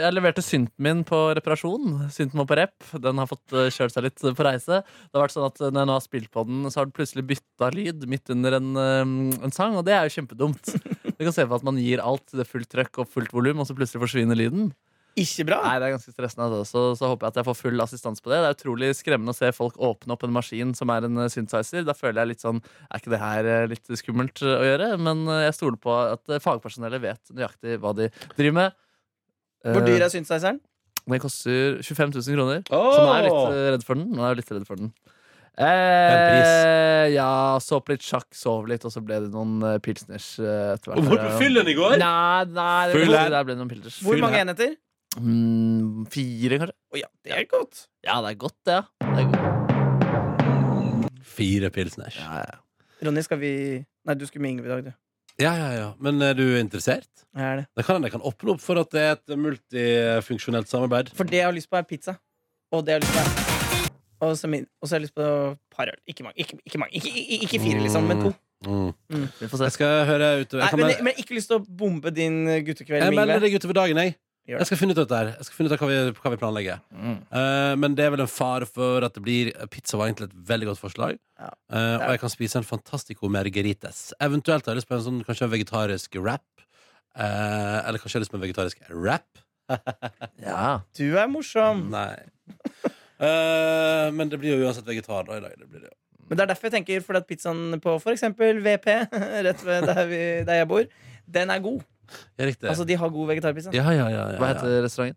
Speaker 4: Jeg leverte synten min på reparasjon. Synten var på rep. Den har fått eh, kjørt seg litt eh, på reise. Det har vært sånn at eh, Når jeg nå har spilt på den, så har den plutselig bytta lyd midt under en, eh, en sang, og det er jo kjempedumt. Du kan se for at man gir alt det fullt trøkk og fullt volum, og så plutselig forsvinner lyden.
Speaker 3: Ikke bra?
Speaker 4: Nei, det er ganske stressende altså. så, så håper jeg at jeg får full assistanse på det. Det er utrolig skremmende å se folk åpne opp en maskin som er en eh, synthesizer. Da føler jeg litt sånn Er ikke det her eh, litt skummelt eh, å gjøre? Men eh, jeg stoler på at eh, fagpersonellet vet nøyaktig hva de driver med. Eh,
Speaker 3: Hvor dyr er synthesizeren?
Speaker 4: Den koster 25 000 kroner.
Speaker 2: Åh!
Speaker 4: Så nå er jeg litt eh, redd for den. Nå er jeg litt redd for den.
Speaker 2: pris.
Speaker 4: Eh, ja, så på litt sjakk, sov litt, og så ble det noen eh, pilsners eh, etter hvert.
Speaker 2: Hvor på fyllen i går?
Speaker 4: Nei, nei det,
Speaker 2: Full her.
Speaker 4: der ble det noen pilsners.
Speaker 3: Hvor
Speaker 2: Fyll
Speaker 3: mange
Speaker 2: her.
Speaker 3: enheter?
Speaker 4: Mm, fire, kanskje?
Speaker 3: Å ja, det er godt.
Speaker 4: Ja, det er godt, det. Ja. det er godt.
Speaker 2: Fire pilsners.
Speaker 4: Ja, ja.
Speaker 3: Ronny, skal vi Nei, du skulle med Ingvild i dag, du.
Speaker 2: Ja, ja, ja. Men er du interessert?
Speaker 3: Jeg er det.
Speaker 2: Det kan hende jeg kan åpne opp for at det er et multifunksjonelt samarbeid.
Speaker 3: For det jeg har lyst på, er pizza. Og det jeg har lyst på er Og så min- og så har jeg lyst på par øl. Ikke mange, ikke, ikke, mange. Ikke, ikke, ikke fire, liksom, men to.
Speaker 2: Mm.
Speaker 4: Vi får
Speaker 2: Jeg
Speaker 4: se.
Speaker 2: skal høre utover.
Speaker 3: Nei,
Speaker 2: Jeg, kan
Speaker 3: men,
Speaker 2: mel-
Speaker 3: men ikke lyst til å bombe din eh, guttekveld
Speaker 2: jeg
Speaker 3: med
Speaker 2: melder
Speaker 3: Ingvild.
Speaker 2: deg utover dagen, jeg.
Speaker 3: Gjør det.
Speaker 2: Jeg skal finne ut av dette her. Jeg skal finne ut av hva vi, hva vi planlegger.
Speaker 4: Mm.
Speaker 2: Eh, men det er vel en fare for at det blir Pizza var egentlig et veldig godt forslag.
Speaker 3: Ja.
Speaker 2: Eh, og jeg kan spise en fantastico margerites. Eventuelt har jeg lyst på en sånn kanskje en vegetarisk wrap. Eh, eller kanskje jeg har lyst på en vegetarisk wrap.
Speaker 4: Ja.
Speaker 3: Du er morsom.
Speaker 2: Nei. Eh, men det blir jo uansett vegetar da i dag. Det blir det. jo.
Speaker 3: Men det er derfor jeg tenker Fordi at pizzaen på for eksempel VP, <laughs> rett ved der, vi, der jeg bor, den er god.
Speaker 2: Ja, riktig.
Speaker 3: Altså, de har god vegetarpizza.
Speaker 2: ja, ja, ja, ja,
Speaker 4: Hva
Speaker 2: ja.
Speaker 4: heter restauranten?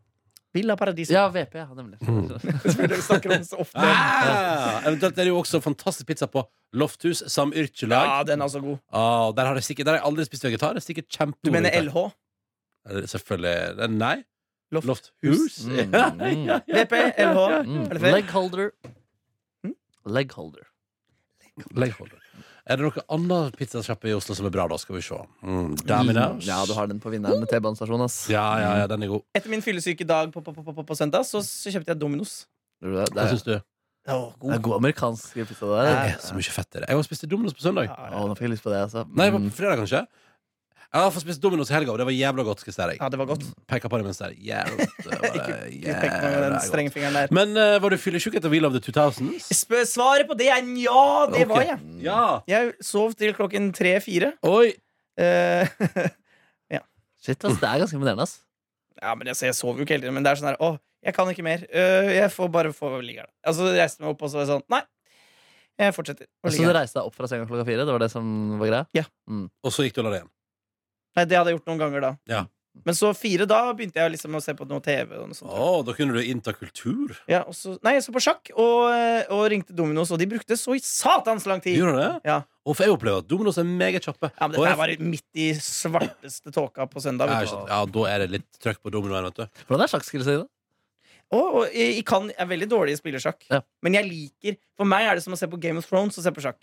Speaker 3: Villa Paradiso. <laughs>
Speaker 4: Ja, VP, ja, nemlig.
Speaker 2: Mm.
Speaker 4: <laughs>
Speaker 3: Selvfølgelig snakker om det så ofte.
Speaker 2: Ah, eventuelt er det jo også fantastisk pizza på Lofthus Sam Yrkjelag.
Speaker 3: Ja, den er også god.
Speaker 2: Ah, der, har jeg sikkert, der har jeg aldri spist vegetar. Det er sikkert kjempegod
Speaker 3: Du mener
Speaker 2: vegetar.
Speaker 3: LH?
Speaker 2: Eller Selvfølgelig. det- Nei.
Speaker 3: Loft-
Speaker 2: Lofthus.
Speaker 4: Mm.
Speaker 2: Ja, ja, ja.
Speaker 3: VP, LH.
Speaker 4: Mm.
Speaker 3: Er det feil?
Speaker 4: Leg holder. Mm? Leg holder.
Speaker 2: Leggholder. Er det noe annet pizzasjappe i Oslo som er bra, da? Skal vi se. Mm, Domino's.
Speaker 4: Ja, du har den på vinneren med T-banestasjon, ass.
Speaker 2: ja, ja, ja, den er god.
Speaker 3: Etter min fyllesyke dag på, på, på, på, på søndag, så, så kjøpte jeg Dominos.
Speaker 4: Tror du Det Det
Speaker 2: Hva
Speaker 4: er,
Speaker 2: syns du?
Speaker 4: det er god amerikansk pizza, det
Speaker 2: Det
Speaker 4: der. altså.
Speaker 2: er så mye fett i det. Jeg har spist Domino's på søndag.
Speaker 3: Ja,
Speaker 4: Å, nå fikk jeg lyst på det, altså.
Speaker 2: Nei, på
Speaker 4: Mm.
Speaker 2: fredag, kanskje. Jeg har fått spist Domino's i helga, og det var jævla godt. skal jeg si deg.
Speaker 3: Ja, det var godt.
Speaker 2: Peka på det mens det er jævla godt. Det var
Speaker 3: Ikke- ikke pek på den
Speaker 2: jævla godt.
Speaker 3: strenge fingeren der.
Speaker 2: Men eh, var du fyllesyk etter We Love the 2000s?
Speaker 3: Sp- Svaret på det er nja, det
Speaker 2: Ok.
Speaker 3: var jeg.
Speaker 2: Ja!
Speaker 3: Jeg sov til klokken Eh, tre-fire.
Speaker 2: Oi!
Speaker 4: Shit, ass, det er ganske imponerende, ass.
Speaker 3: <laughs> ja, men altså, jeg sover jo ikke hele tiden, men det er sånn her Å, jeg kan ikke mer. Eh, jeg får bare få ligge her. da." Altså, jeg reiste meg opp, og så var jeg sånn Nei, jeg fortsetter
Speaker 2: Altså,
Speaker 3: å
Speaker 4: Så
Speaker 3: ligge
Speaker 4: du
Speaker 3: her.
Speaker 4: reiste deg opp fra senga klokka fire? Det var det som var greia?
Speaker 2: Og så gikk du og la deg igjen.
Speaker 3: Nei, det hadde jeg gjort noen ganger da.
Speaker 2: Ja.
Speaker 3: Men så fire, da begynte jeg liksom å se på noe TV. Og noe sånt.
Speaker 2: Å, da kunne du innta kultur.
Speaker 3: Ja, og så, nei, jeg så på sjakk og, eh, og ringte Dominos, og de brukte så i satans lang tid!
Speaker 2: Gjorde du det?
Speaker 3: Ja.
Speaker 2: Og for jeg opplever at Domino's er megakjappe.
Speaker 3: Ja,
Speaker 2: Og
Speaker 3: men Dette
Speaker 2: jeg-
Speaker 3: her var midt i svarteste tåka på søndag.
Speaker 2: Ja,
Speaker 3: Vet
Speaker 2: ikke
Speaker 3: du.
Speaker 2: sant. ja, da er det litt trøkk på dominoen, vet du.
Speaker 4: Hvordan er sjakkskillset ditt?
Speaker 3: Og, og jeg jeg kan, jeg er veldig dårlig i spillersjakk,
Speaker 4: Ja.
Speaker 3: men jeg liker For meg er det som å se på Game of Thrones og se på sjakk.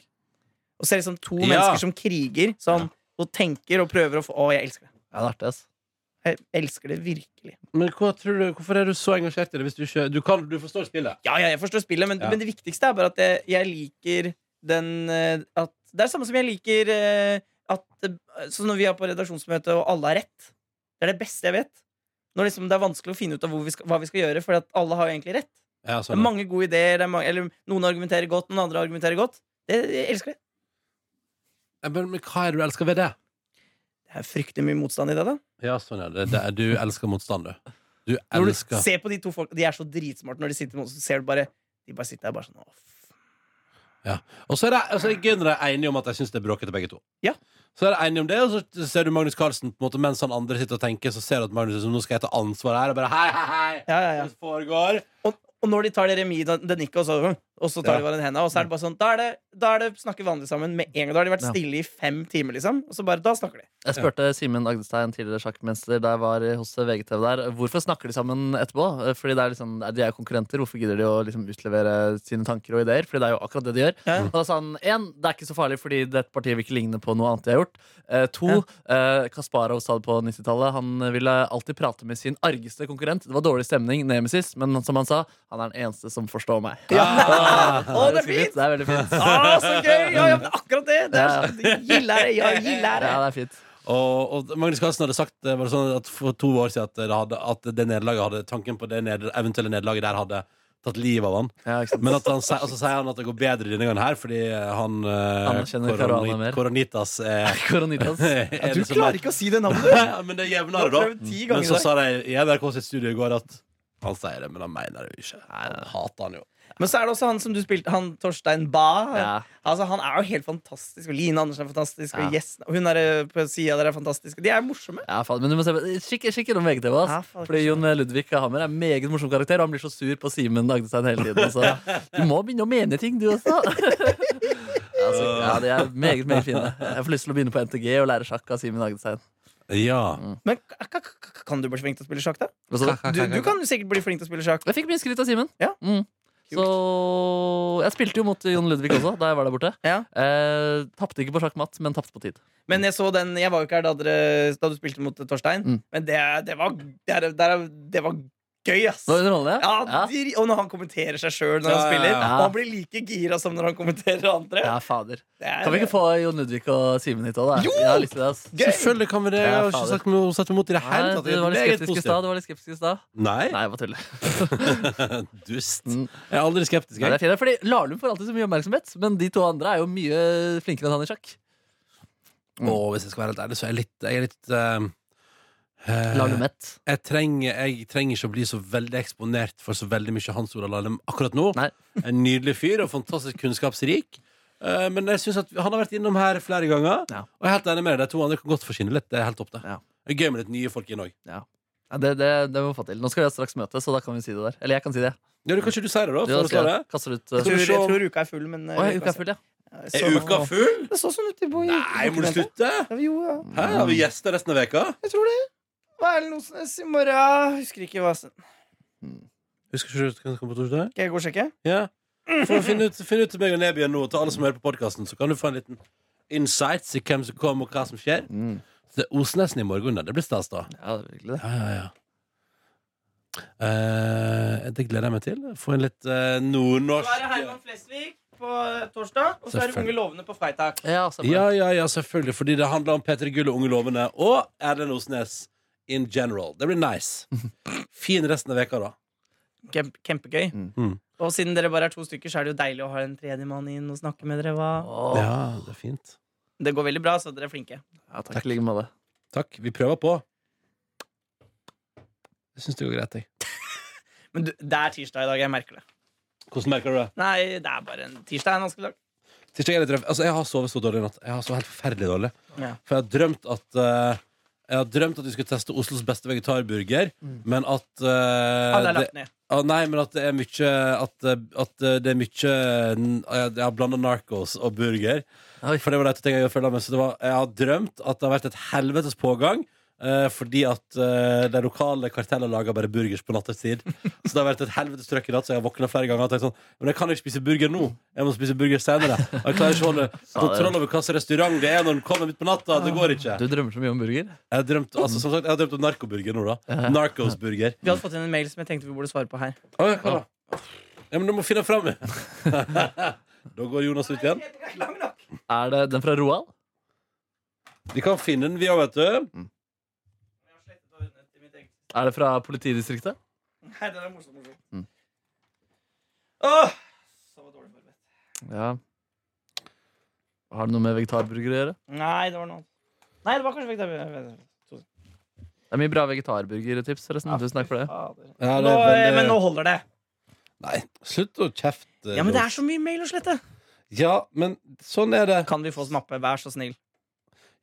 Speaker 3: Og se liksom to
Speaker 2: Ja.
Speaker 3: mennesker som kriger sånn, og tenker og prøver å få Å, jeg elsker det.
Speaker 4: Ja, det er artig, ass.
Speaker 3: Jeg elsker det virkelig.
Speaker 2: Men hva tror du, hvorfor er du så engasjert i det? Hvis du, ikke, du, kan, du forstår spillet.
Speaker 3: Ja, ja, jeg forstår spillet, men,
Speaker 2: Ja.
Speaker 3: men det viktigste er bare at jeg, jeg liker den eh, at, Det er samme som jeg liker eh, at eh, Sånn når vi er på redaksjonsmøte, og alle har rett. Det er det beste jeg vet. Når liksom det er vanskelig å finne ut av hvor vi skal, hva vi skal gjøre, for at alle har jo egentlig rett.
Speaker 2: Ja,
Speaker 3: Det
Speaker 2: sånn.
Speaker 3: er mange gode ideer. Det er mange, eller noen argumenterer godt, noen andre argumenterer godt. Det, jeg elsker det.
Speaker 2: Ja, Men, men hva er det du elsker ved det?
Speaker 3: Det er fryktelig mye motstand i det, da.
Speaker 2: Ja, sånn er det. det er, du elsker motstand, du. Du
Speaker 3: Når du
Speaker 2: elsker
Speaker 3: ser på de to folka, de er så dritsmarte når de sitter med oss, så ser du bare De bare sitter der bare sånn «Å, f-
Speaker 2: Og så er det, og så er det gøy når de er enige om at de syns det er bråkete, begge to.
Speaker 3: Ja.
Speaker 2: Så er de enige om det, og så ser du Magnus Carlsen på en måte, mens han andre sitter og tenker, så ser du at Magnus er sånn, nå skal jeg ta ansvar her, og bare hei, hei, hei!
Speaker 3: Ja, ja,
Speaker 2: Hva
Speaker 3: ja.
Speaker 2: som foregår?
Speaker 3: Og, og når de tar det remis, da- det nikket, og så, «Hm», og så tar
Speaker 2: Ja.
Speaker 3: de hverandre i hendene, og så er det bare sånn Da er det, da er det snakke vanlig sammen med en gang. Da har de vært
Speaker 4: Ja.
Speaker 3: stille i fem timer, liksom, og så bare Da snakker de.
Speaker 4: Jeg spurte Simen Agdestein, tidligere sjakkmester, da jeg var eh, hos VGTV der, hvorfor snakker de sammen etterpå? Fordi det er liksom, De er jo konkurrenter, hvorfor gidder de å liksom utlevere sine tanker og ideer? Fordi det er jo akkurat det de gjør.
Speaker 3: Ja.
Speaker 4: Og da sa han en, det er ikke så farlig fordi dette partiet vil ikke ligne på noe annet de har gjort. Eh, to, eh, Kasparov sa det på 90-tallet, han ville alltid prate med sin argeste konkurrent. Det var dårlig stemning, nemesis, men som han sa, han er den eneste som forstår meg.
Speaker 2: Ah.
Speaker 3: Ja. Å, det er
Speaker 4: ganske
Speaker 3: fint!
Speaker 4: Det er veldig fint.
Speaker 3: Å, så gøy! Ja, ja, men akkurat det! det
Speaker 4: Ja.
Speaker 3: er, så- gillar det, ja, gillar det.
Speaker 4: Ja, det er fint.
Speaker 2: Og, og Magnus Carlsen hadde sagt eh, var det sånn at for to år siden at, det hadde, at det nederlaget hadde, tanken på det neder, eventuelle nederlaget der hadde tatt livet av han.
Speaker 4: Ja, ikke sant?
Speaker 2: Men at han, sier- og så sier han at det går bedre denne gangen her, fordi eh, han eh,
Speaker 4: Anerkjenner
Speaker 2: koroni-
Speaker 4: korona mer.
Speaker 2: Koronitas er,
Speaker 4: Koronitas.
Speaker 2: er
Speaker 3: <laughs> Ja, du
Speaker 2: det som
Speaker 3: klarer
Speaker 2: er- <laughs>
Speaker 3: ikke å si det navnet!
Speaker 2: Men det
Speaker 3: Du har
Speaker 2: jevner det,
Speaker 3: prøvd ti
Speaker 2: da. <laughs> Men
Speaker 3: ganger i
Speaker 2: så
Speaker 3: dag.
Speaker 2: sa de i NRK sitt studio i går at han sier det, men han mener det jo ikke. Han hater han jo.
Speaker 3: Men så er det også han som du spilte, han Torstein Bae.
Speaker 4: Ja.
Speaker 3: Altså, han er jo helt fantastisk. Og Line Andersen er fantastisk.
Speaker 4: Ja.
Speaker 3: Og gjesten og hun er eh, på sida der er fantastisk. De er morsomme.
Speaker 4: Ja, faen, men du må se på Kikk, kikk innom VGTV. ass.
Speaker 3: Ja, faen,
Speaker 4: Fordi Jon Ludvig Hammer er en meget morsom karakter, og han blir så sur på Simen Agdestein hele tiden. Så du må begynne å mene ting, du også. <laughs> altså, ja, De er meget meget fine. Jeg får lyst til å begynne på NTG og lære sjakk av Simen Agdestein.
Speaker 2: Ja.
Speaker 4: Mm.
Speaker 3: Men k- k- k- kan du bli flink til å spille sjakk, da?
Speaker 4: Hva sa du?
Speaker 3: Du, du kan jo sikkert bli flink til å spille sjakk.
Speaker 4: Jeg fikk mye skryt av Simen.
Speaker 3: Ja.
Speaker 4: Mm. Så Jeg spilte jo mot Jon Ludvig også da jeg var der borte.
Speaker 3: Ja.
Speaker 4: Eh, tapte ikke på sjakkmatt, men tapte på tid.
Speaker 3: Men jeg så den Jeg var jo ikke her da, dere, da du spilte mot Torstein,
Speaker 4: Mm.
Speaker 3: men det, det, var, det, er- det, er- det var gøy, ass.
Speaker 4: Nå underholder jeg.
Speaker 3: Ja, dri- Og når han kommenterer seg sjøl når
Speaker 2: Ja,
Speaker 3: han
Speaker 2: ja,
Speaker 3: spiller,
Speaker 2: ja.
Speaker 3: og han blir like gira som når han kommenterer andre.
Speaker 4: ja, fader.
Speaker 3: Det er,
Speaker 4: Kan vi ikke få Jon Ludvig og Simen hit òg, da?
Speaker 3: Jo!
Speaker 4: Jeg har lyst til det, ass.
Speaker 3: Gøy!
Speaker 2: Selvfølgelig kan vi det. Jeg har ikke sagt noe satt imot i det hele
Speaker 4: Nei,
Speaker 2: tatt.
Speaker 4: du
Speaker 2: Jeg er
Speaker 4: var litt
Speaker 2: meget
Speaker 4: skeptisk i
Speaker 2: positiv.
Speaker 4: stad. Du var litt skeptisk i stad.
Speaker 2: Nei.
Speaker 4: Nei, jeg bare tuller.
Speaker 2: <laughs> Dust.
Speaker 4: Mm.
Speaker 2: Jeg er aldri skeptisk.
Speaker 4: Nei, det
Speaker 2: Jeg.
Speaker 4: er fint, fordi Lahlum får alltid så mye oppmerksomhet, men de to andre er jo mye flinkere enn han i sjakk. Mm.
Speaker 2: Og hvis jeg skal være helt ærlig, så er jeg litt, jeg er litt eh, eh,
Speaker 4: Lahlumett.
Speaker 2: jeg, trenger, jeg trenger ikke å bli så veldig eksponert for så veldig mye Hans Olav Lahlum akkurat nå.
Speaker 4: Nei.
Speaker 2: <laughs> En nydelig fyr og fantastisk kunnskapsrik. Eh, men jeg synes at han har vært innom her flere ganger,
Speaker 4: Ja.
Speaker 2: og jeg er helt enig med deg. De to andre kan godt forsvinne litt. Det er helt topp, det.
Speaker 4: Ja.
Speaker 2: Det er Gøy med litt nye folk inn òg.
Speaker 4: Ja, det, det, det må vi få til. Nå skal vi straks møtes, så da kan vi si det der. Eller jeg kan si det.
Speaker 2: Ja, du, kanskje du sier det, da?
Speaker 4: Du,
Speaker 2: For å slå det?
Speaker 4: jeg kaster ut
Speaker 3: jeg,
Speaker 4: uh,
Speaker 2: Skal vi
Speaker 3: tror,
Speaker 2: se om-
Speaker 3: jeg tror uka er full, men eh,
Speaker 4: Å, ja, uka er
Speaker 3: så-
Speaker 4: full, ja.
Speaker 3: Ja, jeg så-
Speaker 2: Er uka full?
Speaker 3: Det så sånn ut i bo- i-
Speaker 2: Nei, må du
Speaker 3: dokumentet.
Speaker 2: slutte?
Speaker 3: Ja, Jo, ja.
Speaker 2: Hæ, Har vi gjester resten av veka?
Speaker 3: Jeg tror det. Hva er det noe som i morgen? Husker ikke hva som
Speaker 2: Husker ikke du at du kan komme på torsdag?
Speaker 3: Skal jeg gå og sjekke?
Speaker 2: Ja. For å finne ut, finne ut meg og Nebyen nå, og til alle som hører på podkasten, så kan du få en liten insights i hvem som kommer, og hva som skjer.
Speaker 4: Mm.
Speaker 2: Så det er Osnesen i morgen, da. Det blir stas, da.
Speaker 4: ja, det er virkelig det.
Speaker 2: Ja, ja, ja. Eh, det gleder jeg meg til. Få en litt eh,
Speaker 3: Så er det
Speaker 2: nordnorsk
Speaker 3: Herman Flesvig på eh, torsdag, og så er det
Speaker 2: Selvfølgelig.
Speaker 3: Unge lovende på Freitag.
Speaker 4: Ja, så bra.
Speaker 2: Ja, ja, ja, selvfølgelig. Fordi det handler om Peter Gull og Unge lovende. Og Erlend Osnes in general. Det blir <laughs> nice. Fin resten av veka da.
Speaker 3: Kemp, kjempegøy.
Speaker 2: Mm.
Speaker 3: Og siden dere bare er to stykker, så er det jo deilig å ha en tredjemann inn og snakke med dere. Hva?
Speaker 4: Å, ja.
Speaker 2: Ja, det er fint.
Speaker 3: Det går veldig bra, så dere er flinke.
Speaker 4: Takk i like måte.
Speaker 2: Takk. Vi prøver på. Jeg syns det går greit, jeg.
Speaker 3: Men du, det er tirsdag i dag, jeg merker det.
Speaker 2: Hvordan merker du det?
Speaker 3: Nei, det er bare en tirsdag er en vanskelig dag.
Speaker 2: Tirsdag er litt røff. Altså, jeg har sovet så dårlig i natt. Jeg har sovet helt forferdelig dårlig.
Speaker 3: Ja.
Speaker 2: For jeg har drømt at eh, Jeg har drømt at vi skulle teste Oslos beste vegetarburger, men at eh,
Speaker 3: Alle er
Speaker 2: det,
Speaker 3: Mm. lagt ned.
Speaker 2: ah, Nei, men at det er mye At, eh, at eh, det er mye ah, Jeg jeg har blanda narkos og burger.
Speaker 4: Oi.
Speaker 2: For det var det jeg følte med. Så det var, jeg har drømt at det har vært et helvetes pågang. eh, fordi at eh, de lokale kartellene lager bare burgers på nattetid. Så det har vært et helvetes trøkk i natt, så jeg har våkna flere ganger og tenkt sånn Men jeg kan jo ikke spise burger nå. Jeg må spise burger senere. Og jeg klarer ikke å holde kontroll over hvilken restaurant det er når den kommer midt på natta. Det går ikke.
Speaker 4: Du drømmer så mye om burger.
Speaker 2: Jeg har drømt, altså, som sagt, jeg har drømt om narkoburger nå, da. Narcos-burger.
Speaker 3: Vi hadde fått inn en mail som jeg tenkte vi burde svare på her.
Speaker 2: Å, ja, hva da? Ja, men du må finne fram. <laughs> da går Jonas ut igjen.
Speaker 4: Er det den fra Roald?
Speaker 2: Vi kan finne den, vi òg, vet du.
Speaker 4: Er det fra politidistriktet?
Speaker 3: Nei, den er morsom.
Speaker 4: Mm.
Speaker 3: morsom. Åh! Så dårlig forberedt.
Speaker 4: Ja. Har det noe med vegetarburger å gjøre?
Speaker 3: Nei, det var noe annet. Nei, det var kanskje vegetar...
Speaker 4: Det er mye bra vegetarburgertips, forresten. Tusen takk for det.
Speaker 3: Fader.
Speaker 2: Ja, det
Speaker 3: Nå,
Speaker 2: er
Speaker 3: eh,
Speaker 2: veldig-
Speaker 3: men nå holder det.
Speaker 2: Nei, slutt å kjefte.
Speaker 3: Ja, men det
Speaker 2: Rolf.
Speaker 3: er så mye mail å slette.
Speaker 2: Ja, men sånn er det.
Speaker 3: Kan vi få oss mappe? Vær så snill.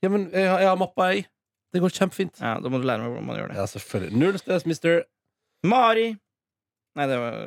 Speaker 2: Ja, men jeg, har- jeg har mappa, jeg. Det går kjempefint.
Speaker 3: Ja, Da må du lære meg hvordan man gjør det.
Speaker 2: Ja, selvfølgelig. Null stress, mister.
Speaker 3: Mari. Nei, det var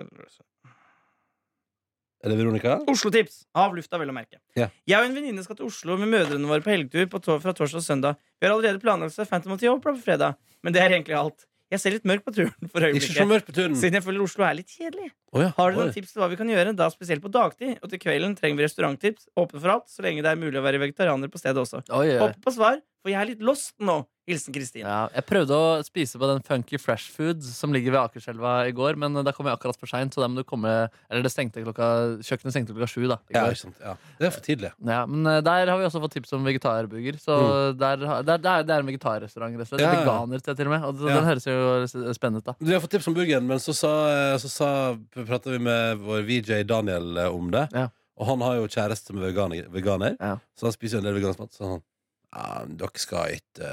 Speaker 2: Er det Veronica?
Speaker 3: Oslo-tips! Av lufta, vel å merke.
Speaker 2: Ja.
Speaker 3: Jeg og en venninne skal til Oslo med mødrene våre på helgetur på tor fra torsdag og søndag. Vi har allerede planlagt oss Phantom of the Opera på fredag, men det er egentlig alt. Jeg ser litt mørk på turen for
Speaker 2: Ikke så
Speaker 3: øyeblikket.
Speaker 2: mørkt på turen.
Speaker 3: Siden jeg føler Oslo er litt kjedelig.
Speaker 2: Å ja.
Speaker 3: Har dere
Speaker 2: Oi.
Speaker 3: noen tips til hva vi kan gjøre, da spesielt på dagtid? Og til kvelden trenger vi restauranttips. Åpne for alt, så lenge det er mulig å være vegetarianer på stedet også.
Speaker 4: Oi, oi, oi.
Speaker 3: Håper på svar, for jeg er litt lost nå. Hilsen Kristin.
Speaker 4: Ja, jeg prøvde å spise på den funky fresh food som ligger ved Akerselva i går, men eh, da kom jeg akkurat for seint, så da må du komme Eller det stengte klokka, kjøkkenet stengte klokka sju, da. i
Speaker 2: Ja,
Speaker 4: går.
Speaker 2: ikke sant. Ja. Det er for tidlig.
Speaker 4: Ja, men eh, der har vi også fått tips om vegetarburger. Så der, har- der, der, det er en vegetarrestaurant. rett og slett.
Speaker 2: Mm. Ja, ja.
Speaker 4: Veganer til, til og med. Og
Speaker 2: Ja.
Speaker 4: Den høres jo spennende ut, da.
Speaker 2: Du har fått tips om burgeren, men så, sa, eh, så sa, prata vi med vår VJ Daniel eh, om det.
Speaker 4: Ja.
Speaker 2: Og han har jo kjæreste som er veganer, veganer
Speaker 4: Ja.
Speaker 2: eh, så han spiser jo en del vegansk mat. Så han ja, men dere skal ikke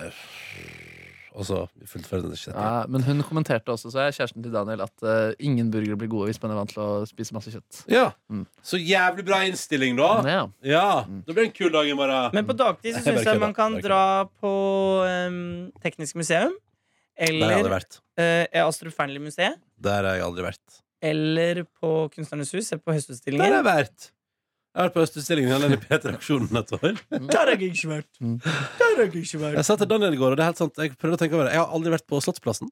Speaker 2: Altså, vi fullfører den ikke.
Speaker 4: Ja, men hun kommenterte også, så jeg kjæresten til Daniel, at eh, ingen burgere blir gode hvis man er vant til å spise masse kjøtt.
Speaker 2: Ja.
Speaker 4: Mm.
Speaker 2: Så jævlig bra innstilling, da.
Speaker 4: Ja.
Speaker 2: Ja, Det blir en kul dag i morgen.
Speaker 3: Men på dagtid
Speaker 2: Jeg
Speaker 3: så
Speaker 2: bare
Speaker 3: syns jeg
Speaker 2: kødder.
Speaker 3: man kan
Speaker 2: Jeg bare
Speaker 3: dra på em, Teknisk museum.
Speaker 2: Der har jeg
Speaker 3: Eller
Speaker 2: aldri vært.
Speaker 3: eh, Astrup Fearnley-museet.
Speaker 2: Der har jeg aldri vært.
Speaker 3: Eller på Kunstnernes hus. Se på
Speaker 2: Der har
Speaker 3: høstutstillingen.
Speaker 2: jeg vært. Jeg har vært på Østutstillingen i denne P3-aksjonen et år.
Speaker 3: Der har jeg ikke vært.
Speaker 4: Mm.
Speaker 3: Der har jeg ikke vært.
Speaker 2: Jeg sa til Daniel i går, og det er helt sant, jeg prøvde å tenke over det. Jeg har aldri vært på Slottsplassen.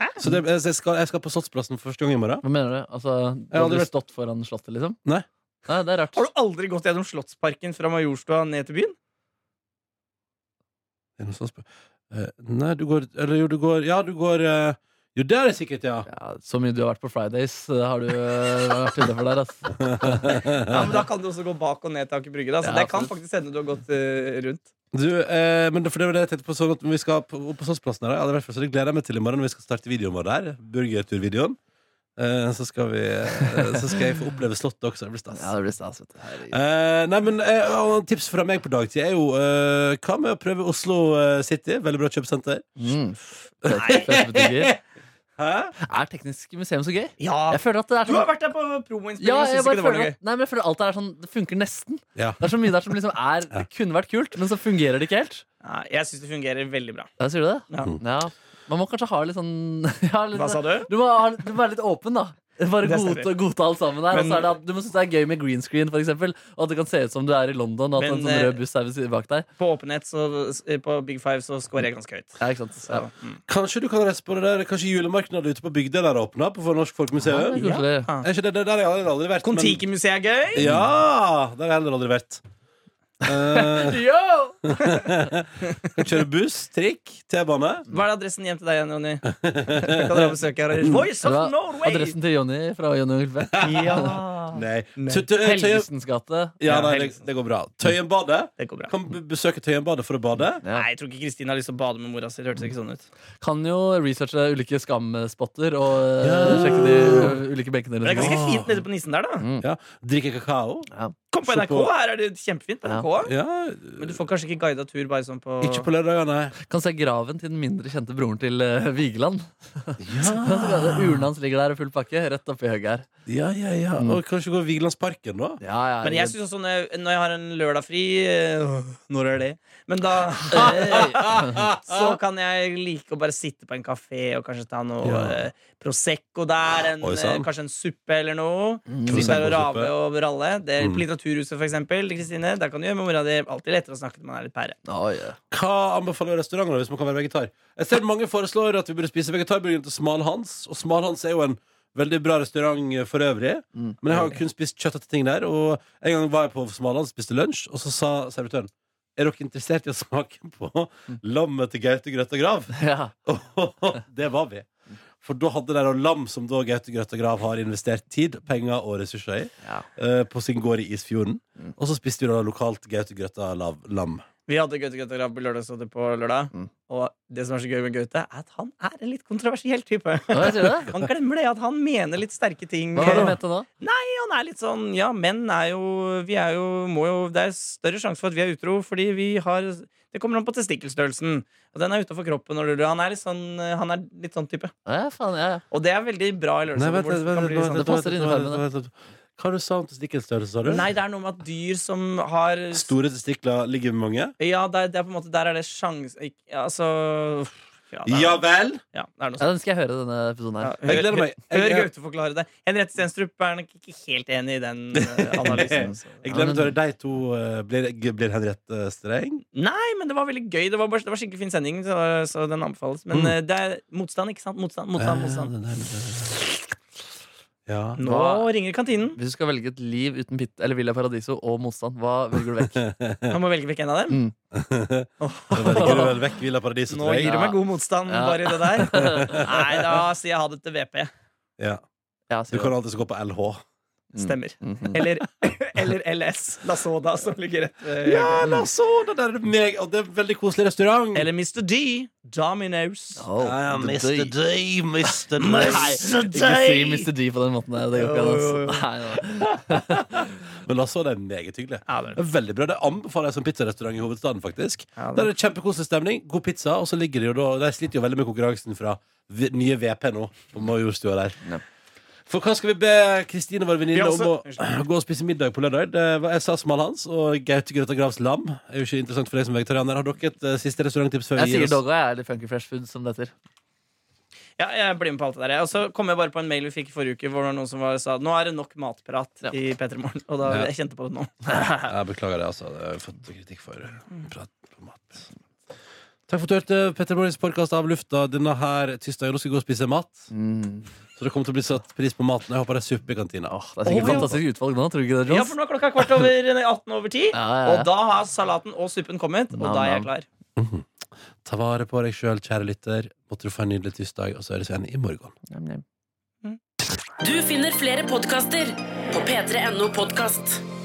Speaker 3: Hæ?
Speaker 2: Så det, jeg, skal, jeg skal på Slottsplassen for første gang i morgen.
Speaker 4: Hva mener du? Altså, du
Speaker 2: har
Speaker 4: hadde
Speaker 2: aldri
Speaker 4: du
Speaker 2: vært-
Speaker 4: stått foran slottet, liksom?
Speaker 2: Nei.
Speaker 4: Nei, det er rart.
Speaker 3: Har du aldri gått gjennom Slottsparken fra Majorstua ned til byen?
Speaker 2: Er det noe sånt spør- Eh, nei, du går Eller jo, du går Ja, du går eh, Jo, der er det sikkert, ja.
Speaker 4: Ja, så mye du har vært på Fridays, eh, har du eh, vært innenfor der, ass.
Speaker 3: Ja, men Da kan du også gå bak og ned til Aker Brygge. Da. Så
Speaker 4: Ja,
Speaker 3: det kan
Speaker 4: absolutt.
Speaker 3: faktisk hende du har gått eh, rundt.
Speaker 2: Du, eh, men det- for det var det jeg tenkte på sånn at Vi skal på, på Slottsplassen her, jeg har aldri vært før, så det gleder jeg meg til i morgen når vi skal starte videoen vår der. Burgerturvideoen. Eh, så, skal vi, eh, så skal jeg få oppleve Slottet også. Det blir stas.
Speaker 4: <laughs> Ja, det blir stas, vet du. Herregud.
Speaker 2: Eh, nei, men eh, og Tips fra meg på dagtid er jo eh, hva med å prøve Oslo eh, City? Veldig bra kjøpesenter.
Speaker 4: Mm. Fete- fete butikker.
Speaker 2: Hæ?
Speaker 4: Er teknisk museum så gøy?
Speaker 3: Ja,
Speaker 4: Jeg føler at det er
Speaker 3: Ah. Du har
Speaker 4: sånn
Speaker 3: vært der på
Speaker 4: ja,
Speaker 3: promoinnspilling og
Speaker 4: jeg
Speaker 3: syns ikke
Speaker 4: bare
Speaker 3: det var
Speaker 4: føler
Speaker 3: noe gøy.
Speaker 4: at, nei, men jeg føler at alt er sånn, det funker nesten.
Speaker 2: Ja.
Speaker 4: Det er så mye der som liksom er Det kunne vært kult, men så fungerer det ikke helt.
Speaker 3: Nei, jeg syns det fungerer veldig bra.
Speaker 4: Ja, sier du det?
Speaker 3: Ja.
Speaker 4: Ja. Man må kanskje ha litt sånn <laughs> ja, litt, sånn-
Speaker 3: Hva sa du?
Speaker 4: Du må, ha, du må være litt åpen, da. Bare
Speaker 3: Det
Speaker 4: godta,
Speaker 3: stemmer.
Speaker 4: godta alt sammen der.
Speaker 3: Men-
Speaker 4: og så er det, at du må synes det er gøy med green screen, for eksempel. Og at det kan se ut som du er i London, og at
Speaker 3: Men,
Speaker 4: en sånn
Speaker 3: eh,
Speaker 4: rød buss er ved siden bak deg.
Speaker 3: På åpenhet så, eh, på Big Five så scorer jeg ganske høyt.
Speaker 4: Ja, ikke sant?
Speaker 3: Så,
Speaker 4: Ja.
Speaker 3: mm.
Speaker 2: Kanskje du kan reise på det der Kanskje julemarkedet ute på bygda der åpna? På Norsk
Speaker 4: Ja,
Speaker 2: Folkemuseum?
Speaker 4: det er koselig.
Speaker 3: Ja.
Speaker 2: Er ikke det, det der har jeg aldri, aldri vært. men-
Speaker 3: Kon-Tiki-museet er gøy.
Speaker 2: Ja! Der har jeg heller aldri vært. Eh,
Speaker 4: Yo!
Speaker 2: kan kjøre buss, trikk, T-bane.
Speaker 3: Hva er det adressen hjem til deg igjen,
Speaker 2: <laughs>
Speaker 3: Ronny? kan dere besøke her?
Speaker 2: Mm.
Speaker 3: Voice
Speaker 4: Det
Speaker 3: of
Speaker 4: var
Speaker 3: Norway!
Speaker 4: Adressen til Jonny fra Jonny Ulfe.
Speaker 3: <laughs> Ja.
Speaker 2: Nei.
Speaker 3: Nei.
Speaker 2: Tø- tø- Tøyen
Speaker 4: Helgesens gate.
Speaker 2: Ja, nei, det, det går bra. Tøyenbadet.
Speaker 3: Det går bra.
Speaker 2: Kan b- besøke Tøyenbadet for å bade.
Speaker 4: Ja.
Speaker 3: Nei, jeg tror ikke Kristine har lyst til å bade med mora si. Det hørtes ikke sånn ut.
Speaker 4: Kan jo researche ulike skamspotter og eh,
Speaker 2: Ja.
Speaker 4: sjekke de eh, ulike benkene.
Speaker 3: Men det er
Speaker 4: rundt omkring.
Speaker 3: ganske fint nede på nissen der, da.
Speaker 2: Ja. Drikke kakao.
Speaker 3: Kom på
Speaker 2: Se
Speaker 3: NRK,
Speaker 2: på-
Speaker 3: her er det kjempefint. på
Speaker 4: Ja.
Speaker 3: NRK.
Speaker 2: Ja.
Speaker 3: Men du får kanskje ikke guida tur bare sånn på
Speaker 2: Ikke på lørdager, nei.
Speaker 4: Kan se graven til den mindre kjente broren til eh, Vigeland. <laughs> Urnen hans ligger der i full pakke, rett oppi høyet her.
Speaker 2: Ja, ja, ja. Og kanskje gå i Vigelandsparken, da.
Speaker 4: Ja, ja,
Speaker 3: Men jeg synes også når jeg, når jeg har en lørdag fri øh, Når er det? Men
Speaker 2: <laughs>
Speaker 3: da Så kan jeg like å bare sitte på en kafé og kanskje ta noe
Speaker 2: Ja.
Speaker 3: eh, Prosecco der. En,
Speaker 2: Oi, sann.
Speaker 3: eh, kanskje en suppe eller noe. Sitte der og
Speaker 2: Prosecco-suppe.
Speaker 3: rave og ralle. Det er
Speaker 2: Mm.
Speaker 3: På Litteraturhuset, for eksempel. Kristine, der kan du gjøre med mora di. Alltid lettere å snakke når man er litt pære.
Speaker 4: Å, ja.
Speaker 2: Hva anbefaler restauranter hvis man kan være vegetar? Jeg ser mange foreslår at vi burde spise vegetarburgeren til Smalhans. Og Smalhans er jo en veldig bra restaurant for øvrig.
Speaker 4: Mm.
Speaker 2: Men jeg har jo kun spist kjøttete ting der. Og en gang var jeg på Smalhans og spiste lunsj, og så sa servitøren er dere interessert i å smake på lammet til Gaute Grøtta Grav?
Speaker 4: Ja.
Speaker 2: <laughs> det var vi. For da hadde de da lam som da Gaute Grøtta Grav har investert tid, penger og ressurser i,
Speaker 4: Ja.
Speaker 2: eh, på sin gård i Isfjorden.
Speaker 4: Mm.
Speaker 2: Og så spiste vi da lokalt Gaute Grøtta lav- lam.
Speaker 3: Vi hadde Gaute Gaute Grav på lørdagsrådet på lørdag.
Speaker 4: Mm.
Speaker 3: Og det som er så gøy med Gaute, er at han er en litt kontroversiell type.
Speaker 4: Hva sier du? det?
Speaker 3: Han glemmer det at han mener litt sterke ting.
Speaker 4: Hva var det du mente nå?
Speaker 3: han er litt sånn Ja, menn er jo Vi er jo, må jo Det er større sjanse for at vi er utro, fordi vi har Det kommer an på testikkelstørrelsen. Og den er utafor kroppen. Og han er litt sånn Han er litt sånn type.
Speaker 4: Ja, faen, ja, ja.
Speaker 3: Og det er veldig bra i
Speaker 2: Nei, vent, vent,
Speaker 3: lørdagsrådet. hvor det
Speaker 2: vent,
Speaker 3: kan bli sånn.
Speaker 2: vent,
Speaker 4: det
Speaker 2: vent,
Speaker 3: litt
Speaker 4: passer
Speaker 2: vent,
Speaker 4: inn i
Speaker 2: vent,
Speaker 4: farmen,
Speaker 2: vent, vent. Hva du sa om testikkelstørrelse, sa du?
Speaker 3: sånn- Nei, det er noe med at dyr som har
Speaker 2: Store testikler ligger med mange?
Speaker 3: Ja, det er, det er på en måte Der er det sjans... ikk- ja, Altså Ja, det er,
Speaker 2: Ja vel!
Speaker 3: ja, det er noe sånt.
Speaker 4: ja, Den skal jeg høre, denne
Speaker 3: Ja,
Speaker 4: episoden her.
Speaker 2: Jeg gleder meg. Jeg,
Speaker 3: Hør
Speaker 2: jeg,
Speaker 3: Gaute forklare det. Henriette Stenstrup er nok ikke helt enig i den eh,
Speaker 2: <laughs>
Speaker 3: analysen. så-
Speaker 2: jeg gleder meg til å høre de to. eh, Blir, blir Henriette streng?
Speaker 3: Nei, men det var veldig gøy. Det var, bare, det var skikkelig fin sending, så, så den anbefales. Men
Speaker 2: Mm.
Speaker 3: eh, det er motstand, ikke sant? Motstand, motstand,
Speaker 2: Eh,
Speaker 3: motstand.
Speaker 2: Ja.
Speaker 3: Nå
Speaker 4: Eh, Hva-
Speaker 3: ringer kantinen.
Speaker 4: Hvis du skal velge et liv uten Pit eller Villa Paradiso og motstand, hva velger du vekk?
Speaker 3: Man må velge vekk en av dem.
Speaker 2: Da velger du vel vekk Villa Paradiso
Speaker 3: Nå
Speaker 2: til deg?
Speaker 3: gir du meg god motstand
Speaker 4: Ja.
Speaker 3: bare i det der.
Speaker 4: <laughs>
Speaker 3: Nei, da sier jeg ha det til VP.
Speaker 2: Ja.
Speaker 4: Ja,
Speaker 2: Du
Speaker 4: sier
Speaker 2: kan alltid gå på LH.
Speaker 4: Mm.
Speaker 3: Stemmer.
Speaker 4: Mhm.
Speaker 3: Eller, <laughs> eller LS. Lasoda, som ligger rett ved
Speaker 2: Ja, la oss så! Det der er meg, og det er en veldig koselig restaurant.
Speaker 3: Eller Mr. D. Dominoes.
Speaker 4: Oh,
Speaker 2: Ja,
Speaker 4: the
Speaker 2: Mr.
Speaker 4: day.
Speaker 2: D, Mr. D.
Speaker 4: Nei, ikke si Mr. D på den måten der. Det går ikke an.
Speaker 3: Jo, jo, jo.
Speaker 4: ass. Nei, nei.
Speaker 2: Men altså, det er meget hyggelig.
Speaker 3: Ja, det er
Speaker 2: Det er Veldig bra. Det anbefaler jeg som pizzarestaurant i hovedstaden, faktisk.
Speaker 3: Ja, det
Speaker 2: Der
Speaker 3: er-
Speaker 2: er det kjempekoselig stemning, god pizza, og så ligger det jo da De sliter jo veldig med konkurransen fra v nye VP nå, på Majorstua der.
Speaker 4: Ja.
Speaker 2: For hva skal vi be Kristine, vår venninne,
Speaker 3: Vi
Speaker 2: om
Speaker 3: har også-
Speaker 2: å gå og spise middag på lørdag? Det var jeg sa smalhans og Gaute Grøtta Gravs lam. Er jo ikke interessant for deg som vegetarianer. Har dere et eh, siste restauranttips før
Speaker 4: Jeg
Speaker 2: vi gir
Speaker 4: sier
Speaker 2: oss?
Speaker 4: Doggo, jeg. Eller Funky Fresh Food, som det heter.
Speaker 3: Ja, jeg blir med på alt det der. jeg. Og så kom jeg bare på en mail vi fikk i forrige uke, hvor det var noen som var, sa nå er det nok matprat
Speaker 4: Ja.
Speaker 3: i P3 Morgen. Og da
Speaker 2: Ja.
Speaker 3: jeg kjente på det nå.
Speaker 2: Jeg beklager det, altså. Jeg har fått kritikk for prat på mat. Takk for at du hørte Petter Morgens podkast av lufta denne her tirsdagen. Nå skal vi gå og spise mat. Så det kommer til å bli satt pris på maten. Jeg håper det er suppe i kantina.
Speaker 4: Mm. Åh, det er
Speaker 3: Å,
Speaker 4: sikkert
Speaker 3: ja.
Speaker 4: fantastisk utvalg nå, tror du ikke det,
Speaker 3: Ja,
Speaker 4: Jones?
Speaker 3: for nå er klokka kvart over nei, 18 over 10,
Speaker 4: Ja, ja, ja.
Speaker 3: og da har salaten og suppen kommet, og
Speaker 4: Nam,
Speaker 3: da er jeg
Speaker 4: nam.
Speaker 3: klar.
Speaker 2: Ta vare på deg sjøl, kjære lytter. Måtte du få en nydelig tirsdag, og så høres vi igjen i morgen.
Speaker 5: Du finner flere podkaster på p3.no podkast.